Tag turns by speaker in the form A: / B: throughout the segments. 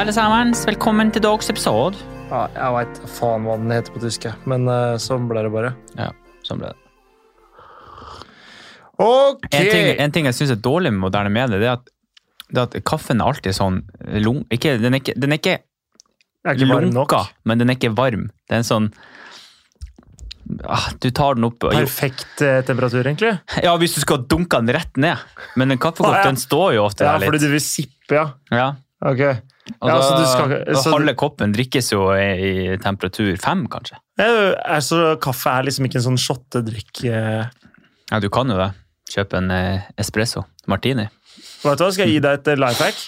A: alle sammen. Velkommen til dagens episode.
B: Ja, jeg veit faen hva den heter på tysk, jeg. men eh, sånn ble det bare.
A: Ja, sånn ble det.
B: Ok!
A: En ting, en ting jeg syns er dårlig med moderne medier, det er at, det er at kaffen er alltid sånn lung... Ikke, den, er ikke, den er ikke
B: jeg er ikke varm nok.
A: lunka, men den er ikke varm. Det er en sånn ah, Du tar den opp og-
B: Perfekt eh, temperatur, egentlig.
A: Ja, hvis du skal dunke den rett ned. Men en kaffekopp
B: Ah, ja.
A: den står jo ofte
B: Ja,
A: der
B: fordi
A: litt.
B: du vil sippe, ja.
A: Ja,
B: Ok.
A: og
B: Ja,
A: da,
B: så du skal ikke-
A: da
B: så-
A: halve koppen drikkes jo i, i temperatur fem, kanskje.
B: Ja, altså, kaffe er liksom ikke en sånn shottedrikk. eh.
A: Ja, du kan jo det. Kjøpe en eh, espresso martini.
B: Vet du hva, skal jeg gi deg et life hack?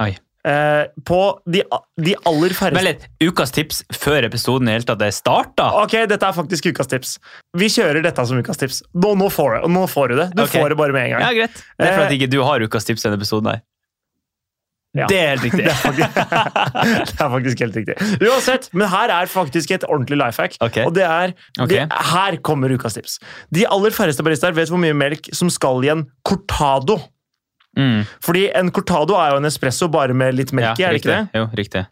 A: Oi.
B: Eh, på de, a- de aller
A: Vent
B: færreste
A: litt. Ukas tips før episoden i hele tatt er starta?
B: Ok, dette er faktisk ukas tips. Vi kjører dette som ukas tips. Nå, nå, får, du, nå får du det. Du
A: Ok.
B: får det bare med en gang.
A: Ja, greit. Det er for at
B: Eh,
A: ikke du har ukas tips i denne episoden her.
B: Ja.
A: Det er helt riktig.
B: Det er, faktisk, det er faktisk helt riktig. Uansett, men her er faktisk et ordentlig life hack.
A: Ok.
B: Og det er
A: Ok.
B: det, Her kommer ukas tips. De aller færreste baristaer vet hvor mye melk som skal i en cortado.
A: Mm,
B: Fordi en cortado er jo en espresso bare med litt melk i, er det
A: riktig.
B: ikke det?
A: Jo, riktig.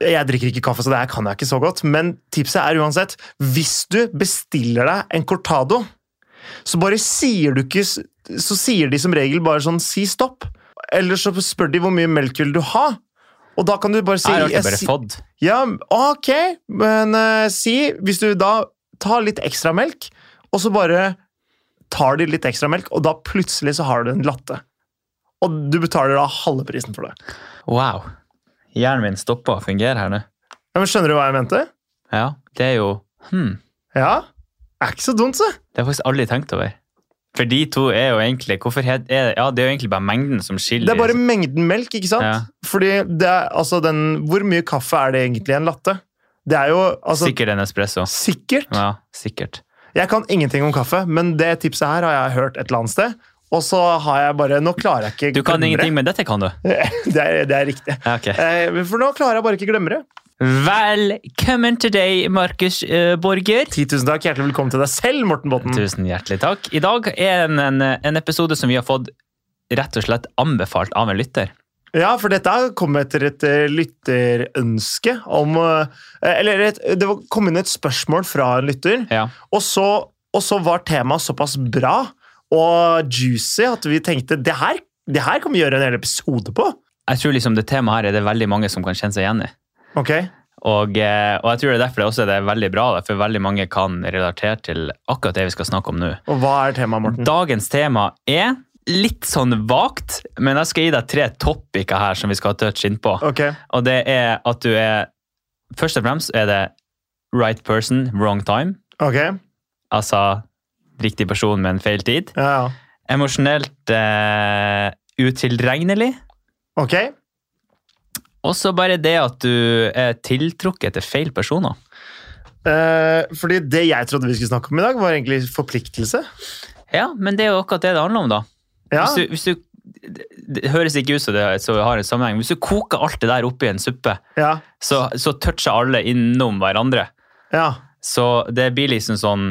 B: Jeg drikker ikke kaffe, så det her kan jeg ikke så godt. Men tipset er uansett, hvis du bestiller deg en cortado, så bare sier du ikke Så sier de som regel bare sånn si stopp. Eller så spør de hvor mye melk vil du ha. Og da kan du bare si
A: Her har ikke
B: jeg
A: bare
B: si-
A: fått.
B: Ja, ok, men eh, si Hvis du da tar litt ekstra melk, og så bare tar de litt ekstra melk, og da plutselig så har du en latte. Og du betaler da halve prisen for det.
A: Wow. Hjernen min stopper å fungere her nå.
B: Ja, men Skjønner du hva jeg mente?
A: Ja, det er jo hmm,
B: Ja? Er ikke så dumt, så.
A: Det har jeg faktisk aldri tenkt over. For de to er jo egentlig hvorfor het- er, Ja, det er jo egentlig bare mengden som skiller.
B: Det er bare mengden melk, ikke sant?
A: Ja.
B: Fordi det er, altså den, Hvor mye kaffe er det egentlig i en latte? Det er jo altså,
A: Sikkert en espresso.
B: sikkert.
A: Ja, sikkert.
B: Jeg kan ingenting om kaffe, men det tipset her har jeg hørt et eller annet sted. Og så har jeg bare Nå klarer jeg ikke
A: Du kan
B: glemme det.
A: ingenting, men dette kan du.
B: Det er, det er riktig.
A: Ja, ok.
B: Eh, For nå klarer jeg bare ikke å glemme det.
A: Velkommen til deg, Markus eh, Borger.
B: 10 000 takk. Hjertelig velkommen til deg selv, Morten Botten.
A: Tusen hjertelig takk. I dag er en, en, en episode som vi har fått rett og slett anbefalt av en lytter.
B: Ja, for dette kom etter et eh, lytterønske om eh, Eller et, det var- kom inn et spørsmål fra en lytter,
A: Ja.
B: og så, og så var temaet såpass bra og juicy at vi tenkte det her, det her kan vi gjøre en hel episode på.
A: Jeg tror liksom det temaet her er det veldig mange som kan kjenne seg igjen i.
B: Ok,
A: Og, eh, og jeg tror det er derfor det også er veldig bra, da, for veldig mange kan relatere til akkurat det vi skal snakke om nå.
B: Og hva er temaet, Morten?
A: Dagens tema er litt sånn vagt, men jeg skal gi deg tre topiker her som vi skal touche inn på.
B: Ok,
A: Og det er at du er Først og fremst er det right person, wrong time.
B: ok.
A: Altså riktig person med en feil tid.
B: Ja, ja.
A: Emosjonelt eh, utilregnelig.
B: Ok, eh,
A: Og så bare det at du er tiltrukket til feil personer.
B: Eh, fordi det jeg trodde vi skulle snakke om i dag, var egentlig forpliktelse.
A: Ja, men det er jo akkurat det det handler om, da.
B: Ja.
A: Hvis du, hvis du, det, det høres ikke ut som det så har en sammenheng. Hvis du koker alt det der oppi en suppe,
B: Ja,
A: så, så toucher alle innom hverandre.
B: ja,
A: Så det blir liksom sånn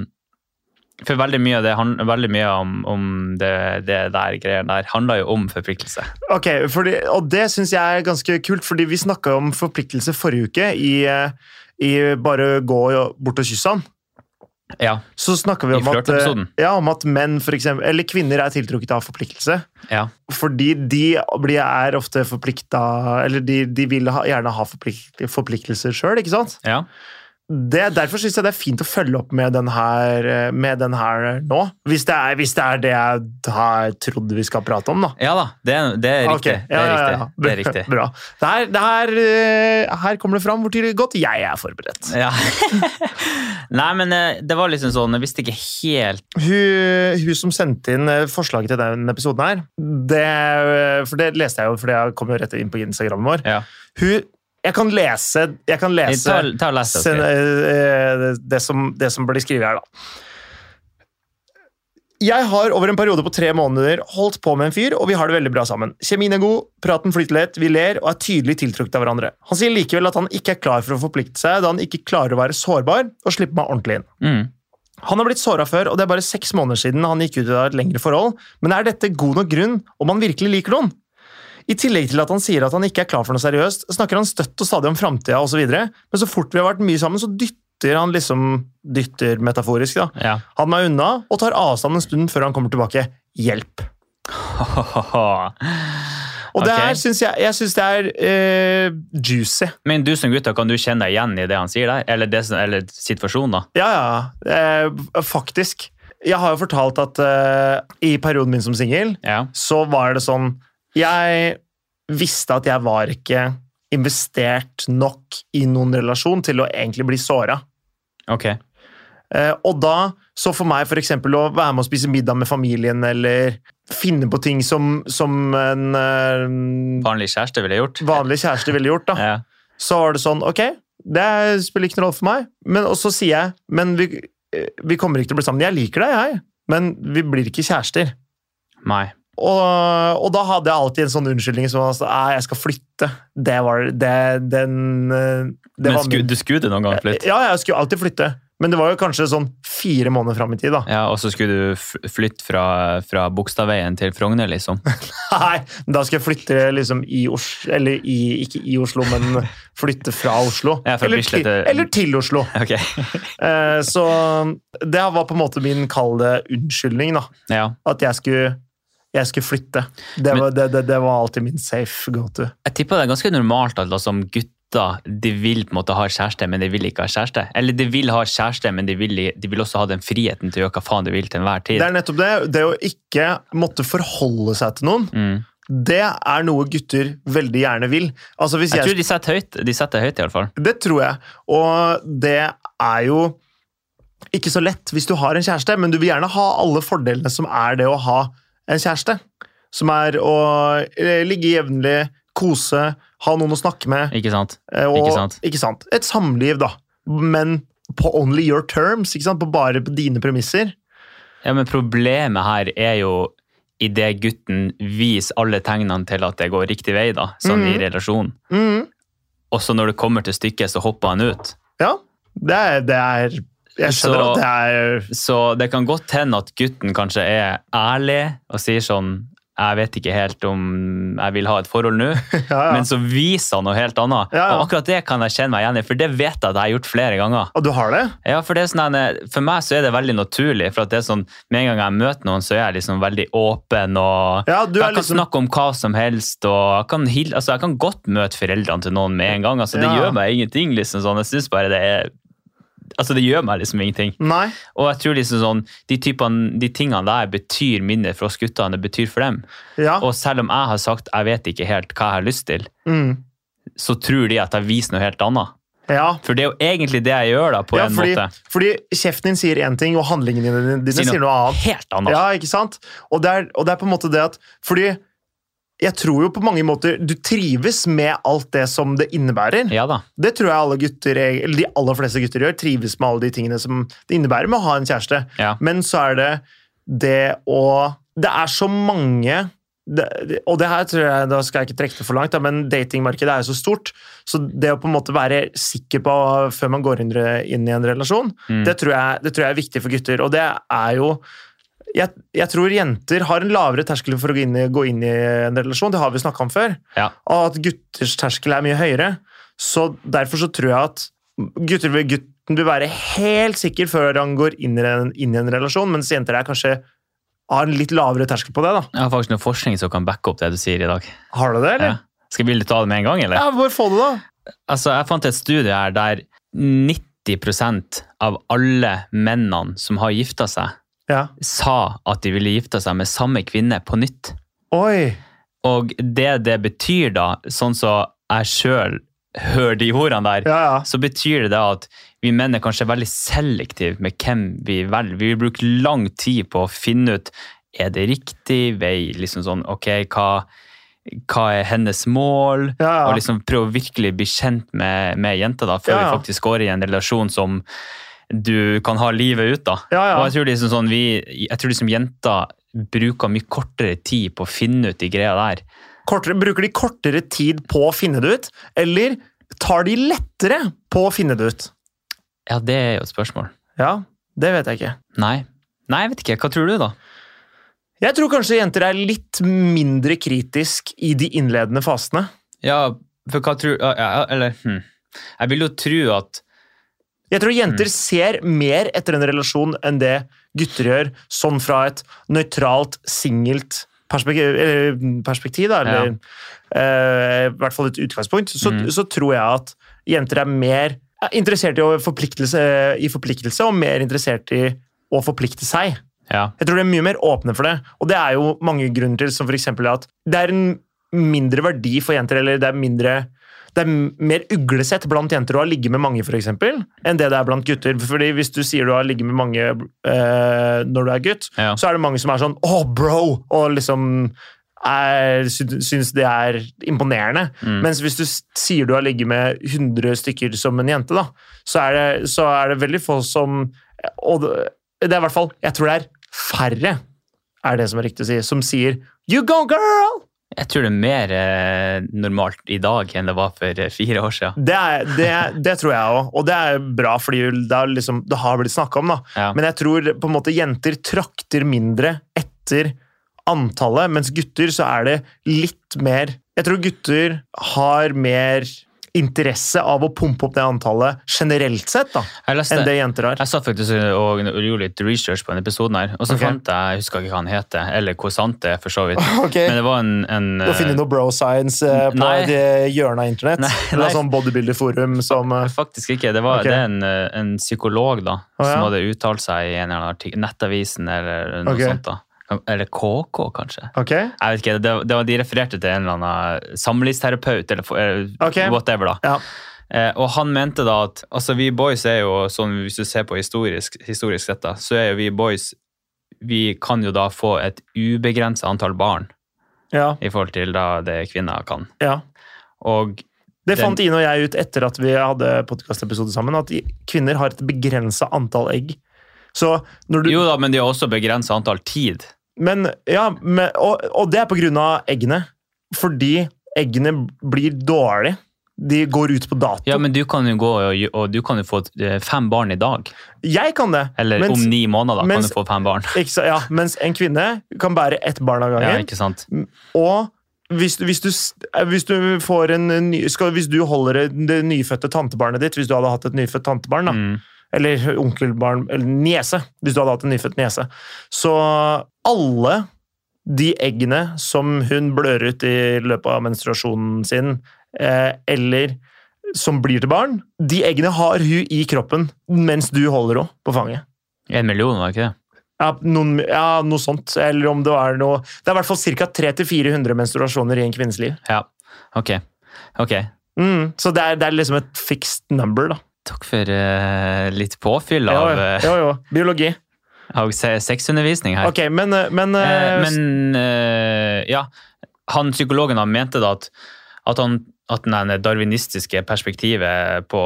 A: For veldig mye av det, han- veldig mye om, om det, det der greia der handler jo om forpliktelse.
B: ok. Fordi, og det syns jeg er ganske kult, fordi vi snakka om forpliktelse forrige uke i, eh, i Bare gå og- bort og kysse han.
A: Ja.
B: Så snakker vi
A: I
B: om at, eh,
A: flørteepisoden.
B: ja, om at menn for eksempel, eller kvinner er tiltrukket av forpliktelse.
A: ja.
B: Fordi de blir, er ofte forplikta Eller de, de vil ha, gjerne ha forplikt, forpliktelser sjøl, ikke sant?
A: ja.
B: Det, derfor syns jeg det er fint å følge opp med den her, eh, med den her nå. Hvis det, er, hvis det er det jeg har trodd vi skal prate om, da.
A: Ja da, det, er- det er riktig.
B: Ah, Ok, ja,
A: det er
B: ja,
A: riktig.
B: ja, ja.
A: Det er riktig.
B: Bra. Det her, det her, eh, her kommer det fram hvor tydelig godt jeg er forberedt.
A: Ja. Nei, men eh, det var liksom sånn, jeg visste ikke helt
B: Hun, hun som sendte inn eh, forslaget til denne episoden her, det, eh, for det leste jeg jo fordi jeg kom jo rett inn på Instagrammen vår.
A: ja.
B: Hun, jeg kan lese, jeg kan
A: Jeg
B: lese
A: tar, tar og les det.
B: sen-
A: ok?
B: eh, eh, det, som, det som blir skrevet her, da. Jeg har over en periode på tre måneder holdt på med en fyr, og vi har det veldig bra sammen. Kjemien er god, praten flyter lett, vi ler og er tydelig tiltrukket av hverandre. Han sier likevel at han ikke er klar for å forplikte seg, da han ikke klarer å være sårbar og slippe meg ordentlig inn.
A: Mm.
B: Han har blitt såra før, og det er bare seks måneder siden han gikk ut av et lengre forhold, men er dette god nok grunn om han virkelig liker noen? I tillegg til at han sier at han ikke er klar for noe seriøst, snakker han støtt og stadig om framtida osv., men så fort vi har vært mye sammen, så dytter han liksom Dytter metaforisk, da.
A: Ja.
B: Han meg unna og tar avstand en stund før han kommer tilbake. Hjelp. Og det
A: Ok.
B: her syns jeg, jeg synes det er eh, juicy.
A: Men du som gutt, da, kan du kjenne deg igjen i det han sier der? Eller, det, som- eller situasjonen, da?
B: Ja, ja. eh, faktisk. Jeg har jo fortalt at eh, i perioden min som singel,
A: Ja.
B: så var det sånn Jeg visste at jeg var ikke investert nok i noen relasjon til å egentlig bli såra.
A: Ok.
B: Eh, og da, så for meg for eksempel å være med og spise middag med familien, eller finne på ting som, som en eh,
A: Vanlig kjæreste ville jeg gjort.
B: vanlig kjæreste ville gjort, da,
A: Ja.
B: så var det sånn Ok, det spiller ikke noen rolle for meg. Men, og så sier jeg Men vi, eh, vi kommer ikke til å bli sammen. Jeg liker deg, jeg, men vi blir ikke kjærester.
A: Nei.
B: Og, og da hadde jeg alltid en sånn unnskyldning som var sånn «Nei, jeg skal flytte. Det var det, den eh, det
A: Men
B: var
A: sku,
B: min.
A: du skulle det noen gang flytte?
B: Ja, jeg skulle alltid flytte. Men det var jo kanskje sånn fire måneder fram i tid, da.
A: Ja, og så skulle du f- flytte fra, fra Bogstadveien til Frogner, liksom.
B: Nei, men da skal jeg flytte liksom i Oslo Eller i, ikke i Oslo, men flytte fra Oslo.
A: Ja, fra
B: eller,
A: Bislett eh,
B: til,
A: til-
B: eller til Oslo.
A: Ok.
B: Eh, så det var på en måte min kalde unnskyldning, da.
A: Ja.
B: At jeg skulle, jeg skulle flytte. Det
A: Men-
B: var, det, det, det var alltid min safe go to.
A: Jeg tipper det er ganske normalt at liksom, gutter de vil på en måte ha kjæreste, men de vil ikke ha kjæreste. Eller de vil ha kjæreste, men de vil, i- de vil også ha den friheten til å gjøre hva faen de vil til enhver tid.
B: Det er nettopp det. Det å ikke måtte forholde seg til noen,
A: Mm.
B: det er noe gutter veldig gjerne vil. Altså hvis
A: Jeg
B: jeg,
A: tror de setter høyt. De setter høyt, i alle fall.
B: Det tror jeg. Og det er jo ikke så lett hvis du har en kjæreste, men du vil gjerne ha alle fordelene som er det å ha en kjæreste. Som er å eh, ligge jevnlig, kose, ha noen å snakke med.
A: Ikke sant?
B: eh, Og,
A: ikke sant?
B: Ikke sant? Et samliv, da. Men på only your terms, ikke sant? På bare på dine premisser.
A: Ja, men problemet her er jo idet gutten viser alle tegnene til at det går riktig vei, da, sånn i relasjonen.
B: Mhm.
A: Og så når det kommer til stykket, så hopper han ut.
B: Ja, det er, det er Jeg
A: Så-
B: skjønner at det er
A: Så det kan godt hende at gutten kanskje er ærlig og sier sånn jeg vet ikke helt om jeg vil ha et forhold nå,
B: ja, ja.
A: men så viser han noe helt annet.
B: Ja, ja.
A: Og akkurat det kan jeg kjenne meg igjen i, for det vet jeg at jeg har gjort flere ganger.
B: Og du har det?
A: Ja, For det er sånn, her, for meg så er det veldig naturlig, for at det er sånn, med en gang jeg møter noen, så er jeg liksom veldig åpen og
B: Ja, du er
A: jeg kan
B: liksom
A: snakke om hva som helst, og jeg kan, hil- altså, jeg kan godt møte foreldrene til noen med en gang. Altså, det
B: Ja.
A: gjør meg ingenting. Liksom, sånn. Jeg synes bare det er Altså, det gjør meg liksom ingenting.
B: Nei.
A: Og jeg tror liksom sånn, de, typene, de tingene der betyr mindre for oss gutter enn det betyr for dem.
B: Ja.
A: Og selv om jeg har sagt jeg vet ikke helt hva jeg har lyst til,
B: Mm.
A: så tror de at jeg viser noe helt annet.
B: ja.
A: For det er jo egentlig det jeg gjør, da, på
B: ja
A: en
B: fordi,
A: måte.
B: fordi kjeften din sier én ting, og handlingene dine, dine sier noe annet.
A: helt annet.
B: Ja, ikke sant? Og det, er, og det er på en måte det at Fordi jeg tror jo på mange måter du trives med alt det som det innebærer.
A: Ja da.
B: Det tror jeg alle gutter, eller de aller fleste gutter gjør. Trives med alle de tingene som det innebærer med å ha en kjæreste.
A: Ja.
B: Men så er det det å Det er så mange det, det- og det her tror jeg, da skal jeg ikke trekke det for langt, da, men datingmarkedet er jo så stort. Så det å på en måte være sikker på før man går inn, inn i en relasjon,
A: Mm.
B: det, tror jeg, det tror jeg er viktig for gutter. Og det er jo jeg, jeg tror jenter har en lavere terskel for å gå inn i, gå inn i en relasjon, det har vi snakka om før.
A: Ja.
B: Og at gutters terskel er mye høyere. Så derfor så tror jeg at gutter vil, gutten vil være helt sikker før han går inn i en, inn i en relasjon, mens jenter er kanskje har en litt lavere terskel på det. da.
A: Jeg har faktisk noe forskning som kan backe opp det du sier i dag.
B: Har du det, eller?
A: Ja. Skal vi ta det med en gang, eller?
B: Ja, hvor få det, da?
A: Altså, jeg fant et studie her der 90 av alle mennene som har gifta seg,
B: Ja.
A: sa at de ville gifta seg med samme kvinne på nytt.
B: Oi!
A: Og det det betyr da, sånn som jeg sjøl hører de ordene der,
B: Ja, ja.
A: så betyr det da at vi menn er kanskje veldig selektive med hvem vi velger. Vi vil bruke lang tid på å finne ut er det riktig vei, liksom sånn ok, hva, hva er hennes mål?
B: ja, ja.
A: Og liksom prøve å virkelig bli kjent med, med jenta da, før
B: Ja, ja.
A: vi faktisk går i en relasjon som du kan ha livet ut. da.
B: ja,
A: Og
B: ja.
A: jeg tror liksom sånn, vi, jeg tror liksom jenter bruker mye kortere tid på å finne ut de greia der.
B: Kortere, bruker de kortere tid på å finne det ut, eller tar de lettere på å finne det ut?
A: Ja, det er jo et spørsmål.
B: Ja, det vet jeg ikke.
A: Nei. Nei, jeg vet ikke. Hva tror du, da?
B: Jeg tror kanskje jenter er litt mindre kritisk i de innledende fasene.
A: Ja, for hva tror ja, ja, Eller hm. Jeg vil jo tro at
B: Jeg tror jenter ser mer etter en relasjon enn det gutter gjør, sånn fra et nøytralt, singelt perspektiv, eller, mm, perspektiv da, eller eh, i hvert fall et utgangspunkt, så,
A: Mm.
B: så tror jeg at jenter er mer er interessert i, å forpliktelse, i forpliktelse og mer interessert i å forplikte seg.
A: Ja.
B: Jeg tror de er mye mer åpne for det, og det er jo mange grunner til, som for eksempel at det er en mindre verdi for jenter, eller det er mindre det er m- mer uglesett blant jenter å ha ligget med mange, for eksempel, enn det det er blant gutter. Fordi hvis du sier du har ligget med mange eh, når du er gutt,
A: Ja.
B: så er det mange som er sånn 'Å, bro!' og liksom er, sy- syns det er imponerende.
A: Mm.
B: Mens hvis du s- sier du har ligget med 100 stykker som en jente, da, så er det, så er det veldig få som Og det det er i hvert fall Jeg tror det er færre, er det som er riktig å si, som sier 'You go, girl!'
A: Jeg tror det er mer eh, normalt i dag enn det var for eh, fire år siden.
B: Det, er, det, det tror jeg òg, og det er bra, fordi det, er liksom, det har blitt snakka om. da.
A: Ja.
B: Men jeg tror på en måte jenter trakter mindre etter antallet, mens gutter så er det litt mer Jeg tror gutter har mer interesse av å pumpe opp det antallet generelt sett da,
A: jeg
B: enn
A: leste
B: det jenter har.
A: jeg satt faktisk og gjorde litt research på denne episoden, her, og så
B: Ok.
A: fant jeg Jeg husker ikke hva han heter, eller hvor sant det er, for så vidt.
B: Ok,
A: Men det var en, en
B: Du finner noe bro science eh,
A: Eh,
B: på
A: Nei.
B: det hjørnet av internett.
A: Nei,
B: Det
A: nei.
B: er sånn bodybuilderforum som eh,
A: Faktisk ikke. Det, var,
B: Ok.
A: det er en, eh, en psykolog da,
B: Å,
A: som
B: ja.
A: hadde uttalt seg i en eller annen artikkel, Nettavisen eller noe
B: Ok.
A: sånt. da. Kan- Eller KK, kanskje.
B: Ok,
A: Jeg vet ikke, det, det var De refererte til en eller annen samlivsterapeut eller for- eller
B: Ok.
A: whatever. da.
B: ja.
A: Eh, og han mente da at altså vi boys er jo sånn, hvis du ser på historisk, historisk sett, da, så er jo vi boys Vi kan jo da få et ubegrensa antall barn
B: ja,
A: i forhold til da det kvinner kan.
B: ja.
A: Og
B: Det
A: Den-
B: fant Ine og jeg ut etter at vi hadde podkastepisode sammen, at i- kvinner har et begrensa antall egg. Så når du
A: jo da, men de har også begrensa antall tid.
B: Men, ja, men, og, og det er på grunn av eggene. Fordi eggene blir dårlige. De går ut på dato.
A: Ja, men du kan jo gå og, og du kan jo få eh, fem barn i dag.
B: Jeg kan det.
A: Eller
B: mens,
A: om ni måneder da,
B: mens-
A: kan du få fem barn.
B: ikke, sa- ja, mens en kvinne kan bære ett barn av
A: Ja,
B: gangen.
A: ikke sant?
B: og hvis, du- hvis, du, s- eh, hvis du får en eh, ny, skal, Hvis du holder det nyfødte tantebarnet ditt, hvis du hadde hatt et nyfødt tantebarn, da,
A: Mm.
B: eller onkelbarn, eller niese, hvis du hadde hatt en nyfødt niese. Så alle de eggene som hun blør ut i løpet av menstruasjonen sin, eh, eller som blir til barn, de eggene har hun i kroppen mens du holder henne på fanget.
A: En million, var det ikke det?
B: Ja, noen, ja, noe sånt. Eller om det er noe Det er i hvert fall ca. 300-400 menstruasjoner i en kvinnes liv.
A: Ja. Ok. Ok.
B: Mm, så det er, det er liksom et fixed number, da.
A: Takk for eh, litt påfyll
B: Jo,
A: av, eh,
B: jo, jo. Biologi.
A: av se- sexundervisning her.
B: Ok, men, eh, men,
A: Eh,
B: eh,
A: men eh, ja, han psykologen han mente da at, at, han, at den der darwinistiske perspektivet på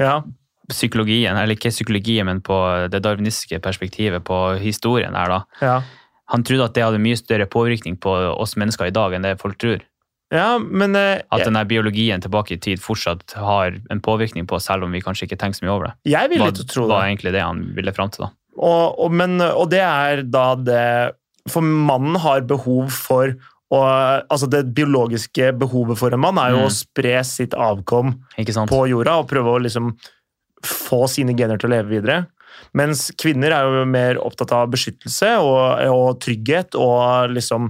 B: ja.
A: psykologien, eller ikke psykologien, men på det darwinistiske perspektivet på historien her da,
B: ja.
A: han trodde at det hadde mye større påvirkning på oss mennesker i dag enn det folk tror.
B: Ja, men eh,
A: At
B: jeg,
A: den der biologien tilbake i tid fortsatt har en påvirkning på oss, selv om vi kanskje ikke tenker så mye over det.
B: jeg vil
A: Hva
B: ikke tro det.
A: var egentlig det han ville fram til da?
B: Og, og, men, eh, og det er da det For mannen har behov for å Altså, det biologiske behovet for en mann er jo
A: Mm.
B: å spre sitt avkom
A: Ikke sant?
B: på jorda og prøve å liksom få sine gener til å leve videre. Mens kvinner er jo mer opptatt av beskyttelse og, og trygghet og liksom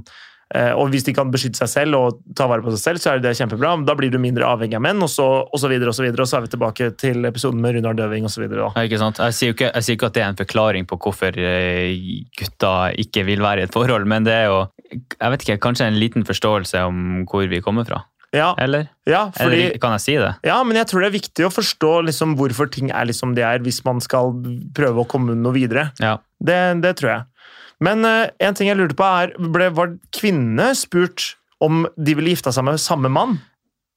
B: eh, og hvis de kan beskytte seg selv og ta vare på seg selv, så er det kjempebra. Men da blir du mindre avhengig av menn, og så, og så videre, og så videre. Og så er vi tilbake til episoden med Runar Døving og så videre. Da.
A: Ja, ikke sant? Jeg sier, jo ikke, jeg sier ikke at det er en forklaring på hvorfor eh, gutta ikke vil være i et forhold, men det er jo jeg vet ikke, kanskje en liten forståelse om hvor vi kommer fra?
B: Ja,
A: Eller?
B: ja, fordi,
A: Eller kan jeg si det?
B: ja, men jeg tror det er viktig å forstå liksom hvorfor ting er liksom de er, hvis man skal prøve å komme noe videre.
A: Ja.
B: Det, det tror jeg. Men eh, en ting jeg lurte på er, ble, var kvinnene spurt om de ville gifte seg med samme mann?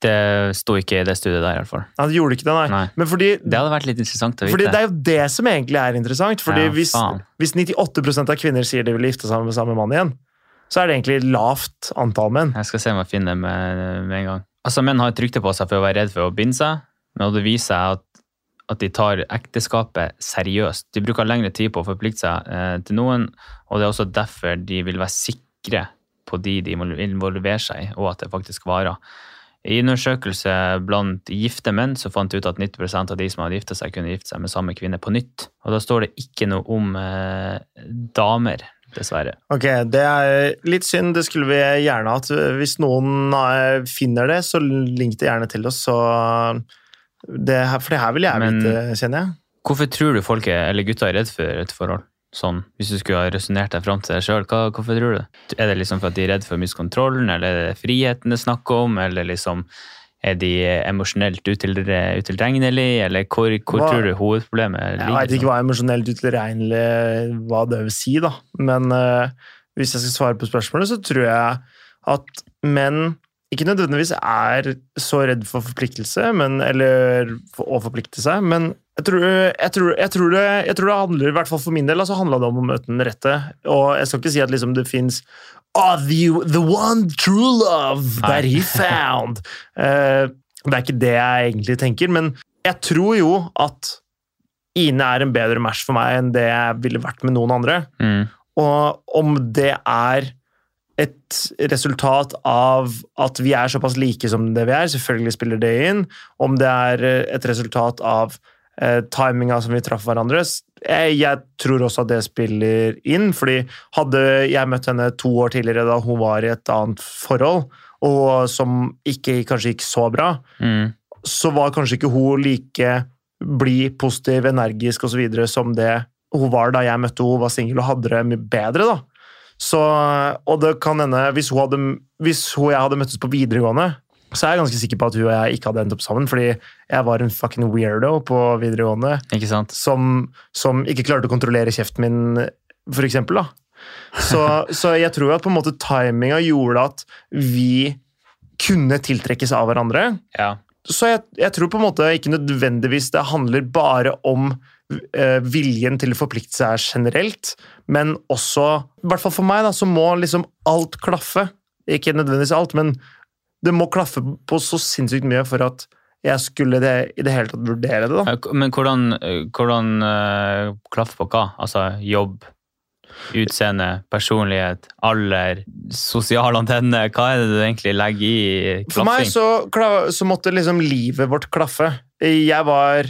A: Det sto ikke i det studiet der, i hvert fall.
B: Nei, de gjorde ikke det, nei.
A: Nei.
B: Men fordi,
A: Det hadde vært litt interessant å vite.
B: fordi det er jo det som egentlig er interessant. Fordi
A: Ja,
B: hvis,
A: faen.
B: hvis 98 av kvinner sier de vil gifte seg med samme mann igjen, så er det egentlig lavt antall menn.
A: Jeg skal se om jeg finner det med, med en gang. Altså, Menn har et rykte på seg for å være redd for å binde seg, men det viser seg at at de tar ekteskapet seriøst. De bruker lengre tid på å forplikte seg eh, til noen, og det er også derfor de vil være sikre på de de involverer seg i, og at det faktisk varer. I en undersøkelse blant gifte menn så fant de ut at 90 av de som hadde gifta seg, kunne gifte seg med samme kvinne på nytt. Og da står det ikke noe om eh, damer, dessverre.
B: Ok, det er litt synd. Det skulle vi gjerne hatt. Hvis noen eh, finner det, så link det gjerne til oss. Så det, her- for det her vil jeg
A: Men-
B: vite, kjenner jeg.
A: Hvorfor tror du folk er, eller gutta er redd for et forhold? Sånn, hvis du skulle ha resonnert deg fram til deg sjøl, hvorfor tror du det? Er det liksom for at de er redd for miskontrollen, eller er det friheten det er snakk om, eller liksom er de emosjonelt util- utilregnelige, eller hvor, hvor
B: Hva-
A: tror du hovedproblemet
B: Jeg veit ikke
A: ligger? liksom?
B: hva emosjonelt utilregnelig hva det vil si, da. Men eh, hvis jeg skal svare på spørsmålet, så tror jeg at menn ikke nødvendigvis er så redd for forpliktelse, men, eller for å forplikte seg, men jeg tror, jeg, tror, jeg, tror det, jeg tror det handler, i hvert fall for min del, altså handla det om å møte den rette. Og jeg skal ikke si at liksom det fins the, the one true love that he found! Eh, det er ikke det jeg egentlig tenker, men jeg tror jo at Ine er en bedre match for meg enn det jeg ville vært med noen andre.
A: Mm.
B: Og om det er et resultat av at vi er såpass like som det vi er, selvfølgelig spiller det inn. Om det er eh, et resultat av eh, timinga som vi traff hverandre s- jeg, jeg tror også at det spiller inn, fordi hadde jeg møtt henne to år tidligere da hun var i et annet forhold, og som ikke kanskje gikk så bra,
A: Mm.
B: så var kanskje ikke hun like blid, positiv, energisk osv. som det hun var da jeg møtte henne, hun var singel og hadde det mye bedre. da. Så, og det kan hende, hvis hun, hadde, hvis hun og jeg hadde møttes på videregående, så er jeg ganske sikker på at hun og jeg ikke hadde endt opp sammen, fordi jeg var en fucking weirdo på videregående
A: Ikke sant?
B: som, som ikke klarte å kontrollere kjeften min, for eksempel. Da. Så, så jeg tror at på en måte timinga gjorde at vi kunne tiltrekkes av hverandre.
A: Ja.
B: Så jeg, jeg tror på en måte ikke nødvendigvis det handler bare om eh, viljen til å forplikte seg generelt, men også, i hvert fall for meg, da, så må liksom alt klaffe. Ikke nødvendigvis alt, men det må klaffe på så sinnssykt mye for at jeg skulle det, i det hele tatt vurdere det. da.
A: Ja, k- Men hvordan, eh, hvordan eh, klaff på hva? Altså jobb, utseende, personlighet, alder, sosial antenne. Hva er det du egentlig legger i
B: For meg
A: klaffing?
B: så, kla- så måtte liksom livet vårt klaffe. Jeg var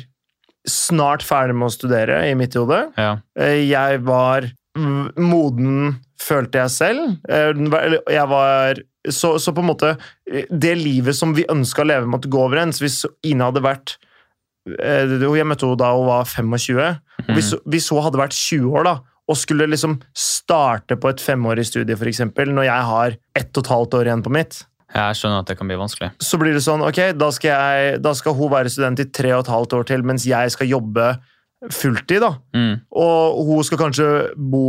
B: snart ferdig med å studere i mitt hode. Eh,
A: Ja.
B: Jeg var mm, moden, følte jeg selv. Eh, eller Jeg var så, så på en måte eh, Det livet som vi ønska å leve, måtte gå overens. Hvis Ine hadde vært eh, Jeg møtte henne da hun var 25.
A: Mhm.
B: Hvis, hvis hun hadde vært 20 år da, og skulle liksom starte på et femårig studie, f.eks., når jeg har ett og et halvt år igjen på mitt
A: Jeg skjønner at det kan bli vanskelig.
B: så blir det sånn, ok, da skal, jeg, da skal hun være student i tre og et halvt år til, mens jeg skal jobbe fulltid, da.
A: Mm.
B: Og hun skal kanskje bo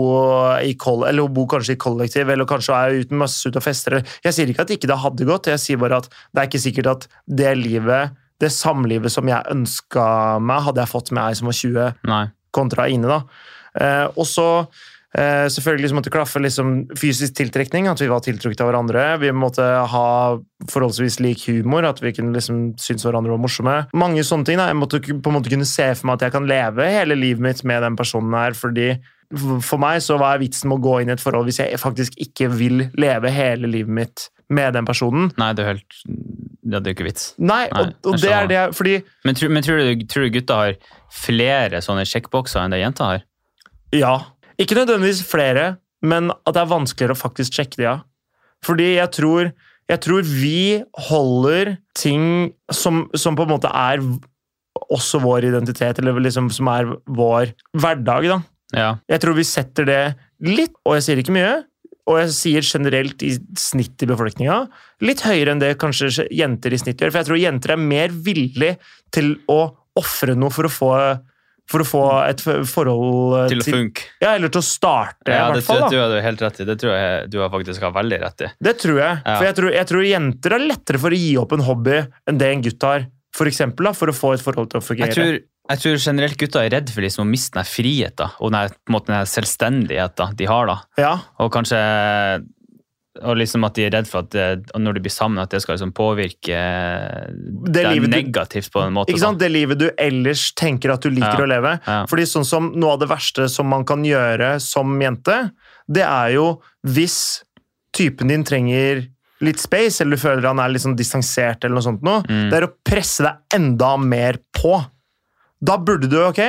B: i, koll eller hun bor kanskje i kollektiv, eller kanskje er uten masse ute og fester. eller- Jeg sier ikke at ikke det hadde gått, jeg sier bare at det er ikke sikkert at det livet, det samlivet som jeg ønska meg, hadde jeg fått med ei som var 20
A: Nei.
B: kontra inne, da. Eh, og så eh, selvfølgelig så måtte det klaffe liksom, fysisk tiltrekning, at vi var tiltrukket av hverandre. Vi måtte ha forholdsvis lik humor, at vi kunne liksom synes hverandre var morsomme. Mange sånne ting. da. Jeg måtte ku- på en måte kunne se for meg at jeg kan leve hele livet mitt med den personen her, fordi f- for meg så hva er vitsen med å gå inn i et forhold hvis jeg faktisk ikke vil leve hele livet mitt med den personen?
A: Nei, det er helt ja, Det er jo ikke vits.
B: Nei,
A: Nei,
B: og, og
A: jeg
B: det
A: skjønner.
B: er det jeg Fordi
A: Men, tror- men tror, du, tror du gutta har flere sånne sjekkbokser enn det jenta har?
B: Ja. Ikke nødvendigvis flere, men at det er vanskeligere å faktisk sjekke det av. Fordi jeg tror, jeg tror vi holder ting som, som på en måte er også vår identitet, eller liksom som er vår hverdag, da.
A: Ja.
B: Jeg tror vi setter det litt, og jeg sier ikke mye, og jeg sier generelt i snitt i befolkninga, litt høyere enn det kanskje jenter i snitt gjør. For jeg tror jenter er mer villig til å ofre noe for å få, for å få et forhold eh,
A: Til å funke.
B: ja, eller til å
A: Ja,
B: starte, i
A: det
B: hvert
A: tror
B: fall.
A: jeg du
B: Da.
A: har helt rett i. Det tror jeg du har faktisk har veldig rett i.
B: Det tror jeg.
A: Ja.
B: For jeg tror, jeg tror jenter er lettere for å gi opp en hobby enn det en gutt har. For eksempel, da, for å få et forhold til å fungere.
A: Jeg tror, jeg tror generelt gutta er redd for liksom å miste den her friheten og den, her, på en måte, den her selvstendigheten de har. da.
B: Ja,
A: Og kanskje Og liksom at de er redd for at det, når de blir sammen, at det skal liksom påvirke
B: Det
A: deg
B: livet du-
A: negativt på en måte.
B: Ikke
A: da.
B: sant? Det livet du ellers tenker at du
A: Ja.
B: liker å leve.
A: Ja.
B: Fordi sånn som Noe av det verste som man kan gjøre som jente, det er jo hvis typen din trenger litt space, eller du føler han er litt sånn distansert, eller noe sånt noe,
A: Mm.
B: det er å presse deg enda mer på. Da burde du, ok,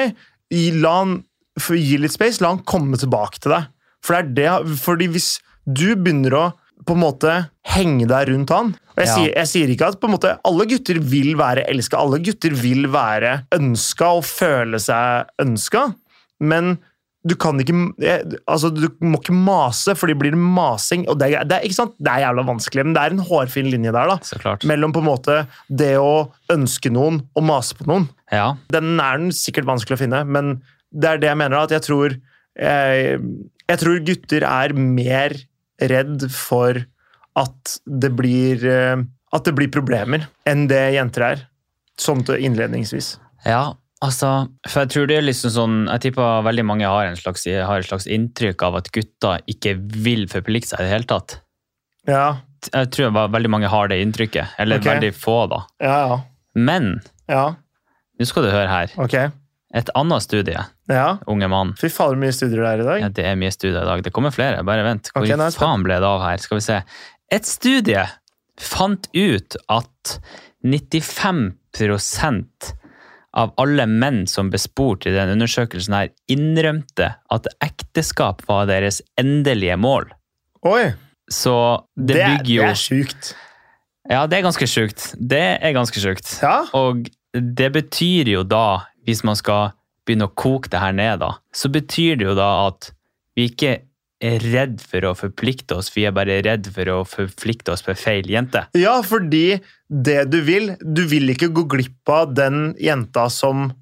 B: gi- la han f- gi litt space, la han komme tilbake til deg. For det er det, fordi hvis du begynner å på en måte henge deg rundt han. Og jeg,
A: Ja.
B: sier, jeg sier ikke at på en måte alle gutter vil være elska, alle gutter vil være ønska og føle seg ønska, men du kan ikke jeg- altså Du må ikke mase, for det blir masing. og det, er- det, er, ikke sant? det er jævla vanskelig, men det er en hårfin linje der. da
A: Så klart.
B: Mellom på en måte det å ønske noen og mase på noen.
A: Ja.
B: Den er den sikkert vanskelig å finne, men det er det jeg mener. da, At jeg tror, eh, jeg tror gutter er mer redd for at det blir, eh, at det blir problemer, enn det jenter er. Sånn til innledningsvis.
A: Ja, altså For jeg tror det er liksom sånn Jeg tipper veldig mange har, en slags, har et slags inntrykk av at gutter ikke vil forplikte seg i det hele tatt.
B: Ja,
A: Jeg tror ve- veldig mange har det inntrykket. Eller
B: Ok.
A: veldig få, da.
B: ja, ja.
A: Men
B: ja
A: nå skal du høre her.
B: ok.
A: Et annet studie,
B: Ja.
A: unge mann.
B: Fy fader, mye studier det er i dag.
A: Ja, det er mye studier i dag. Det kommer flere. Bare vent. Hvor
B: Ok, nå er jeg
A: faen ble det av her? Skal vi se. Et studie fant ut at 95 av alle menn som ble spurt i den undersøkelsen her, innrømte at ekteskap var deres endelige mål.
B: Oi!
A: Så det,
B: er-
A: bygger jo
B: Det er sjukt.
A: Ja, det er ganske sjukt. Det er ganske sjukt.
B: Ja.
A: Og det betyr jo da, hvis man skal begynne å koke det her ned, da, så betyr det jo da at vi ikke er redd for å forplikte oss, vi er bare redd for å forplikte oss på feil jente.
B: ja, fordi det du vil Du vil ikke gå glipp av den jenta som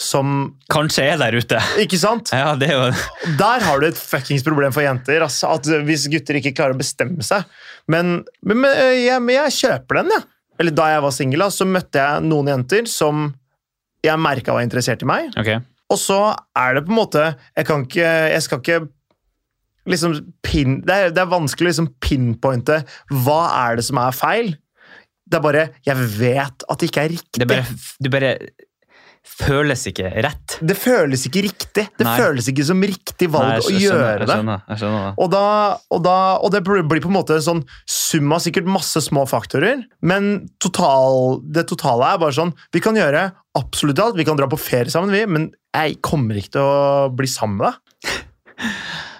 B: som
A: Kanskje jeg er der ute.
B: Ikke sant?
A: Ja, det er jo
B: Der har du et fuckings problem for jenter. Altså, at hvis gutter ikke klarer å bestemme seg. Men, men, men, øh, jeg, men jeg kjøper den, jeg. Ja. Eller da jeg var singel, da, så møtte jeg noen jenter som jeg merka var interessert i meg.
A: Ok.
B: Og så er det på en måte Jeg kan ikke Jeg skal ikke liksom pin, det, er, det er vanskelig å liksom pinpointe hva er det som er feil. Det er bare Jeg vet at det ikke er riktig.
A: Det er bare, du bare føles ikke rett.
B: Det føles ikke riktig. Det
A: Nei.
B: føles ikke som riktig valg
A: Nei, jeg
B: å
A: skj-
B: gjøre
A: skjønner,
B: det.
A: Jeg skjønner, jeg skjønner det.
B: Og, da, og, da, og det blir på en måte en sånn sum av sikkert masse små faktorer, men total, det totale er bare sånn Vi kan gjøre absolutt alt. Vi kan dra på ferie sammen, vi, men jeg kommer ikke til å bli sammen med deg.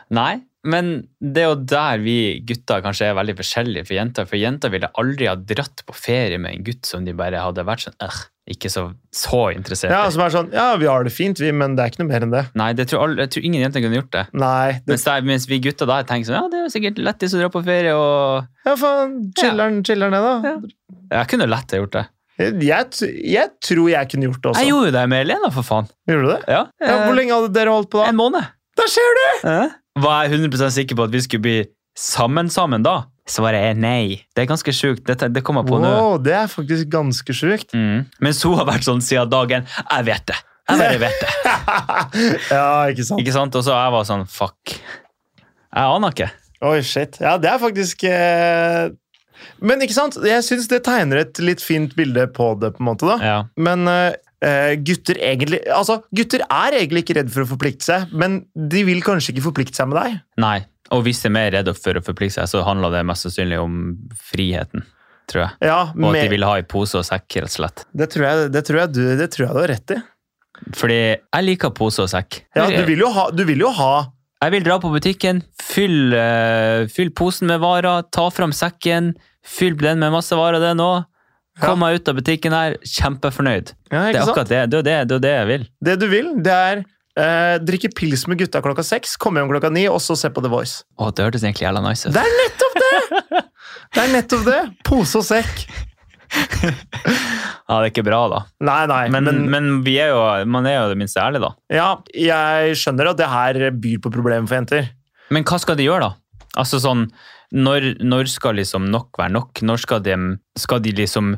A: Nei, men det er jo der vi gutter kanskje er veldig forskjellige for jenter. For jenter ville aldri ha dratt på ferie med en gutt som de bare hadde vært sånn «Ugh, Ikke så, så interessert
B: Ja,
A: i.
B: som er sånn Ja, vi har det fint, vi, men det er ikke noe mer enn det.
A: Nei, det tror alle, jeg tror ingen jenter kunne gjort det.
B: Nei. Det,
A: Mens, der, mens vi gutter da tenker sånn Ja, det er jo sikkert lettest å dra på ferie og
B: ja, faen. Chiller'n, chiller'n, jeg, da.
A: Jeg kunne lett ha gjort det.
B: Jeg, t- jeg tror jeg kunne gjort det også.
A: Jeg gjorde Eh. jo det med Elena, for faen.
B: Gjorde du det?
A: Ja,
B: Ja, hvor lenge hadde dere holdt på
A: eh,
B: da?
A: En måned.
B: Der ser du!
A: Var jeg 100 sikker på at vi skulle bli sammen sammen da? Svaret er nei. Det er ganske sjukt. Dette- Det kommer jeg på nå.
B: Wow, det er faktisk ganske sjukt.
A: Mm. Mens hun har vært sånn siden dagen Jeg vet det! Jeg bare vet det.
B: ja, ikke sant?
A: Ikke sant? Og så jeg var sånn Fuck. Jeg aner ikke.
B: Oi, shit. Ja, det er faktisk eh, Men ikke sant? Jeg syns det tegner et litt fint bilde på det, på en måte. da.
A: Ja.
B: Men eh, eh, gutter egentlig Altså, gutter er egentlig ikke redd for å forplikte seg, men de vil kanskje ikke forplikte seg med deg.
A: Nei. Og hvis de er mer redde for å forplikte seg, så handler det mest sannsynlig om friheten. Tror jeg.
B: Ja,
A: Og at de
B: med,
A: vil ha i pose og sekk, rett og slett.
B: det, tror jeg, det, tror jeg du, det tror jeg du har rett i.
A: Fordi jeg liker pose og sekk.
B: Ja, du vil jo ha, du vil jo ha
A: Jeg vil dra på butikken, fyll, eh, fyll posen med varer, ta fram sekken, fyll den med masse varer, den òg.
B: Ja.
A: Kom meg ut av butikken her, kjempefornøyd.
B: ja,
A: Det er
B: ikke sant?
A: akkurat det. Det er jo det, det, er jo det jeg vil.
B: Det du vil, det er eh, drikke pils med gutta klokka seks, komme hjem klokka ni, og så se på The Voice.
A: Å, det hørtes egentlig jævla nice ut.
B: Det er nettopp det! Det er nettopp det. Pose og sekk.
A: Ja, det er ikke bra, da.
B: Nei, nei.
A: Men, men, vi er jo, man er jo det minste ærlig, da.
B: Ja, jeg skjønner at det her byr på problemer for jenter.
A: Men hva skal de gjøre, da? Altså sånn, når, når skal liksom nok være nok? Når skal de, skal de liksom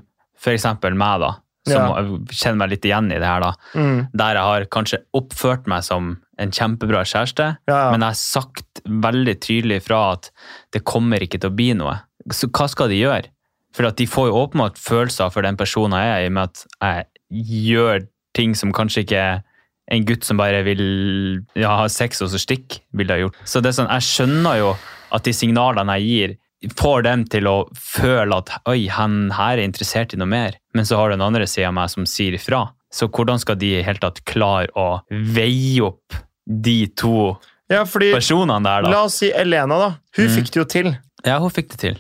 A: For eksempel meg, da, som kjenner meg litt igjen i det her, da. Der jeg har kanskje oppført meg som en kjempebra kjæreste,
B: Ja, ja.
A: men jeg har sagt veldig tydelig fra at det kommer ikke til å bli noe. Så hva skal de gjøre? For at de får jo åpenbart følelser for den personen jeg er, i og med at jeg gjør ting som kanskje ikke en gutt som bare vil ja, ha sex og så stikk, ville ha gjort. Så det er sånn, jeg skjønner jo at de signalene jeg gir, får dem til å føle at oi, han her er interessert i noe mer. Men så har du den andre sida av meg som sier ifra. Så hvordan skal de i hele tatt klare å veie opp de to
B: Ja, fordi
A: personene der, da?
B: La oss si Elena, da. Hun
A: Mm.
B: fikk det jo til.
A: Ja, hun fikk det til.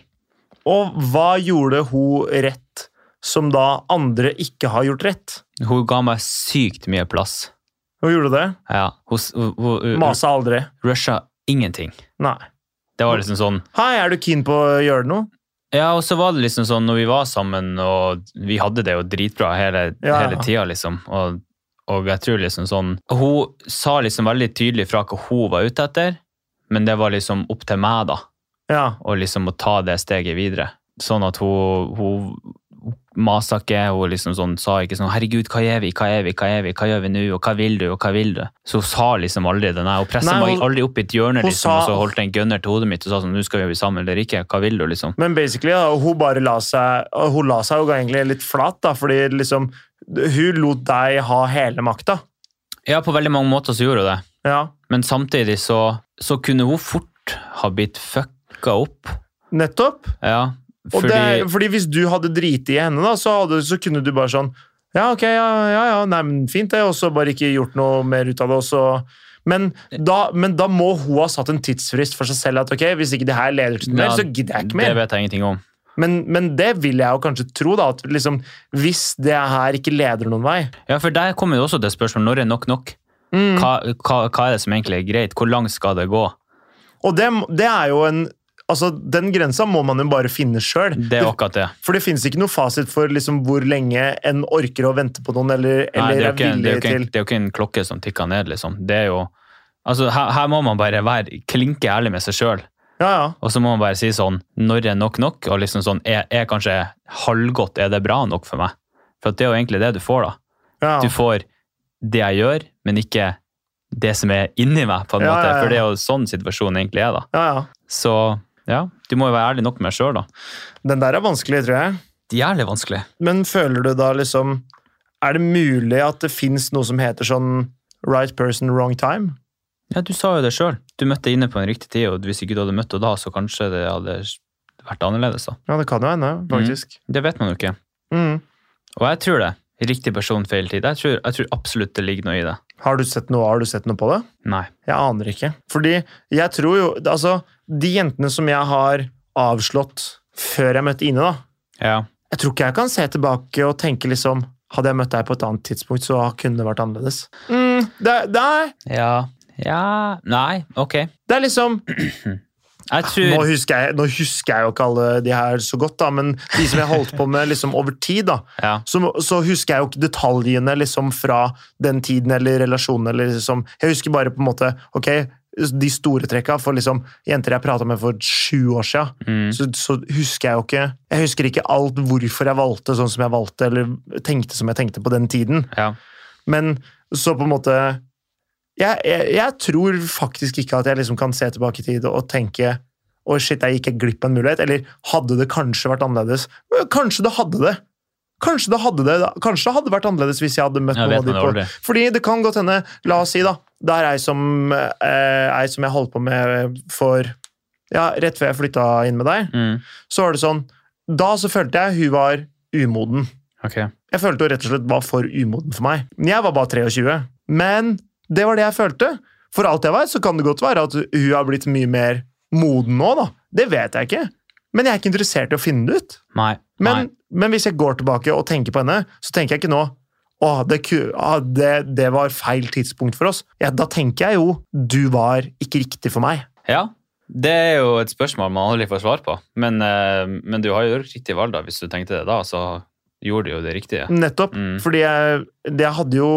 B: Og hva gjorde hun rett som da andre ikke har gjort rett?
A: Hun ga meg sykt mye plass.
B: Hun gjorde det.
A: Ja, hun, s- hun, hun, hun
B: Masa aldri.
A: rusha ingenting.
B: Nei.
A: Det var liksom sånn
B: Hei, er du keen på å gjøre noe?
A: Ja, og så var det liksom sånn, når vi var sammen, og vi hadde det jo dritbra hele,
B: Ja, ja.
A: hele tida, liksom. Og, og jeg tror liksom sånn Hun sa liksom veldig tydelig fra hva hun var ute etter, men det var liksom opp til meg, da,
B: Ja.
A: å liksom å ta det steget videre. Sånn at hun, hun, hun masa ikke, hun liksom sånn sa ikke sånn 'herregud, hva gjør vi, hva gjør vi, hva gjør vi, hva gjør vi nå, og hva vil du, og hva vil du?' Så hun sa liksom aldri det, nei. Hun pressa
B: Nei,
A: meg
B: hun-
A: aldri opp i et hjørne,
B: hun
A: liksom,
B: sa-
A: og så holdt en gunner til hodet mitt og sa sånn 'nå skal vi bli sammen eller ikke, hva vil du', liksom.
B: Men basically, da, hun bare la seg og Hun la seg jo egentlig litt flat, da, fordi liksom Hun lot deg ha hele makta.
A: Ja, på veldig mange måter så gjorde hun det.
B: Ja.
A: Men samtidig så, så kunne hun fort ha blitt fucka opp.
B: Nettopp.
A: Ja,
B: Og
A: fordi
B: det, fordi hvis du hadde driti i henne, da, så, hadde, så kunne du bare sånn Ja, ok, ja, ja, ja nei, men fint det, og så bare ikke gjort noe mer ut av det. Og så men da, men da må hun ha satt en tidsfrist for seg selv. at ok, Hvis ikke det her leder til noe
A: Ja,
B: mer, så gidder jeg ikke
A: det
B: mer.
A: vet jeg ingenting om.
B: Men, men det vil jeg jo kanskje tro, da. At liksom, hvis det her ikke leder noen vei
A: Ja, for der kommer jo også det spørsmålet når er nok nok?
B: mm.
A: Hva, hva, hva er det som egentlig er greit? Hvor langt skal det gå?
B: Og det, det er jo en Altså, Den grensa må man jo bare finne sjøl.
A: Det er akkurat det.
B: For det fins ikke noe fasit for liksom hvor lenge en orker å vente på noen, eller,
A: Nei, det, er
B: eller
A: jo ikke, det,
B: er
A: er
B: villig
A: jo ikke,
B: til
A: det er jo ikke en klokke som tikker ned, liksom. Det er jo Altså, her, her må man bare være klinke ærlig med seg sjøl.
B: Ja, ja.
A: Og så må man bare si sånn Når er nok nok? Og liksom sånn Er, er kanskje halvgodt Er det bra nok for meg? For at det er jo egentlig det du får, da.
B: Ja.
A: du får det jeg gjør, men ikke det som er inni meg, på en
B: Ja,
A: måte.
B: ja, ja.
A: For det er jo sånn situasjonen egentlig er, da.
B: ja, ja.
A: Så ja, du må jo være ærlig nok med deg sjøl, da.
B: Den der er vanskelig, tror jeg.
A: Jævlig vanskelig.
B: Men føler du da liksom Er det mulig at det fins noe som heter sånn right person, wrong time?
A: Ja, du sa jo det sjøl. Du møtte inne på en riktig tid, og hvis ikke du hadde møtt henne da, så kanskje det hadde vært annerledes, da.
B: Ja, det kan jo hende, faktisk.
A: Det vet man jo ikke.
B: Mm.
A: Og jeg tror det. Riktig person, feil tid. Jeg tror, jeg tror absolutt det ligger noe i det.
B: Har du sett noe? Har du sett noe på det?
A: Nei.
B: Jeg aner ikke. Fordi jeg tror jo Altså, de jentene som jeg har avslått før jeg møtte Ine, da
A: Ja.
B: Jeg tror ikke jeg kan se tilbake og tenke liksom Hadde jeg møtt deg på et annet tidspunkt, så kunne det vært annerledes. Mm, det, det, er,
A: Ja. Ja Nei, ok.
B: det er liksom
A: Jeg
B: Nå
A: tror
B: husker, jeg, nå husker jeg jo ikke alle de her så godt, da, men de som jeg holdt på med liksom over tid, da,
A: Ja.
B: så, så husker jeg jo ikke detaljene liksom fra den tiden eller relasjonen. Eller liksom. Jeg husker bare på en måte ok, de store trekka for liksom, jenter jeg prata med for sju år sia.
A: Mm.
B: Så, så husker jeg jo ikke Jeg husker ikke alt hvorfor jeg valgte sånn som jeg valgte, eller tenkte som jeg tenkte på den tiden.
A: Ja.
B: Men så på en måte Jeg, jeg, jeg tror faktisk ikke at jeg liksom kan se tilbake i tid og tenke å shit, jeg gikk glipp av en mulighet. Eller hadde det kanskje vært annerledes? Men Kanskje det hadde det. Kanskje det hadde det. da. Kanskje det hadde vært annerledes hvis jeg hadde møtt
A: Jeg
B: noen
A: vet
B: av de
A: man
B: på
A: aldri.
B: Fordi det kan godt hende La oss si, da. Det er ei som, eh, ei som jeg holdt på med for Ja, rett før jeg flytta inn med deg,
A: Mm.
B: så var det sånn Da så følte jeg hun var umoden.
A: Ok.
B: Jeg følte hun rett og slett var for umoden for meg. Men Jeg var bare 23. Men det var det jeg følte. For alt jeg vet, så kan det godt være at hun har blitt mye mer moden nå, da. Det vet jeg ikke. Men jeg er ikke interessert i å finne det ut.
A: Nei. Nei.
B: Men, men hvis jeg går tilbake og tenker på henne, så tenker jeg ikke nå Åh, det, ku- ah, det, det var feil tidspunkt for oss. Ja, da tenker jeg jo du var ikke riktig for meg.
A: Ja, det er jo et spørsmål man aldri får svar på. Men, eh, men du har jo gjort riktig valg, da. Hvis du tenkte det da, så gjorde du jo det riktige.
B: Nettopp.
A: Mm.
B: Fordi jeg, det- jeg hadde jo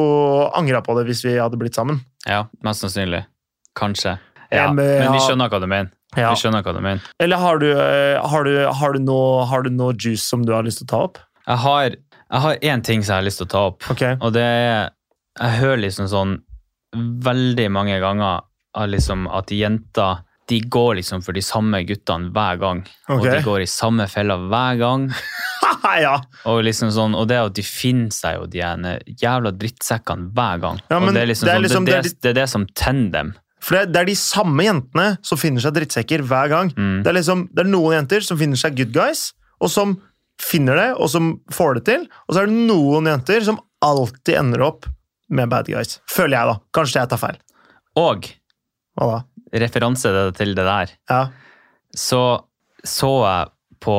B: angra på det hvis vi hadde blitt sammen.
A: Ja, mest sannsynlig. Kanskje. Ja,
B: Jeg må-
A: men vi
B: ja.
A: skjønner hva du mener.
B: Ja.
A: Vi skjønner hva du mener.
B: Eller har du, eh, har, du, har, du noe, har du noe juice som du har lyst til å ta opp?
A: Jeg har, jeg har én ting som jeg har lyst til å ta opp.
B: Ok.
A: Og det er Jeg hører liksom sånn veldig mange ganger av liksom at jenter de de går liksom for de samme guttene hver gang. Og
B: Ok.
A: de går i samme fella hver gang.
B: ja.
A: Og, liksom sånn, og det at de finner seg jo de ene jævla drittsekkene hver gang.
B: Ja, men
A: og det er liksom,
B: det er liksom-
A: sånn, det, er
B: det
A: det, det er det som tenner dem.
B: For det, det er de samme jentene som finner seg drittsekker hver gang.
A: Mm.
B: Det, er liksom, det er noen jenter som finner seg good guys, og som finner det, og som får det til. Og så er det noen jenter som alltid ender opp med bad guys. Føler jeg, da. Kanskje jeg tar feil.
A: Og
B: Hva da?
A: referanse til det der,
B: Ja,
A: så så jeg på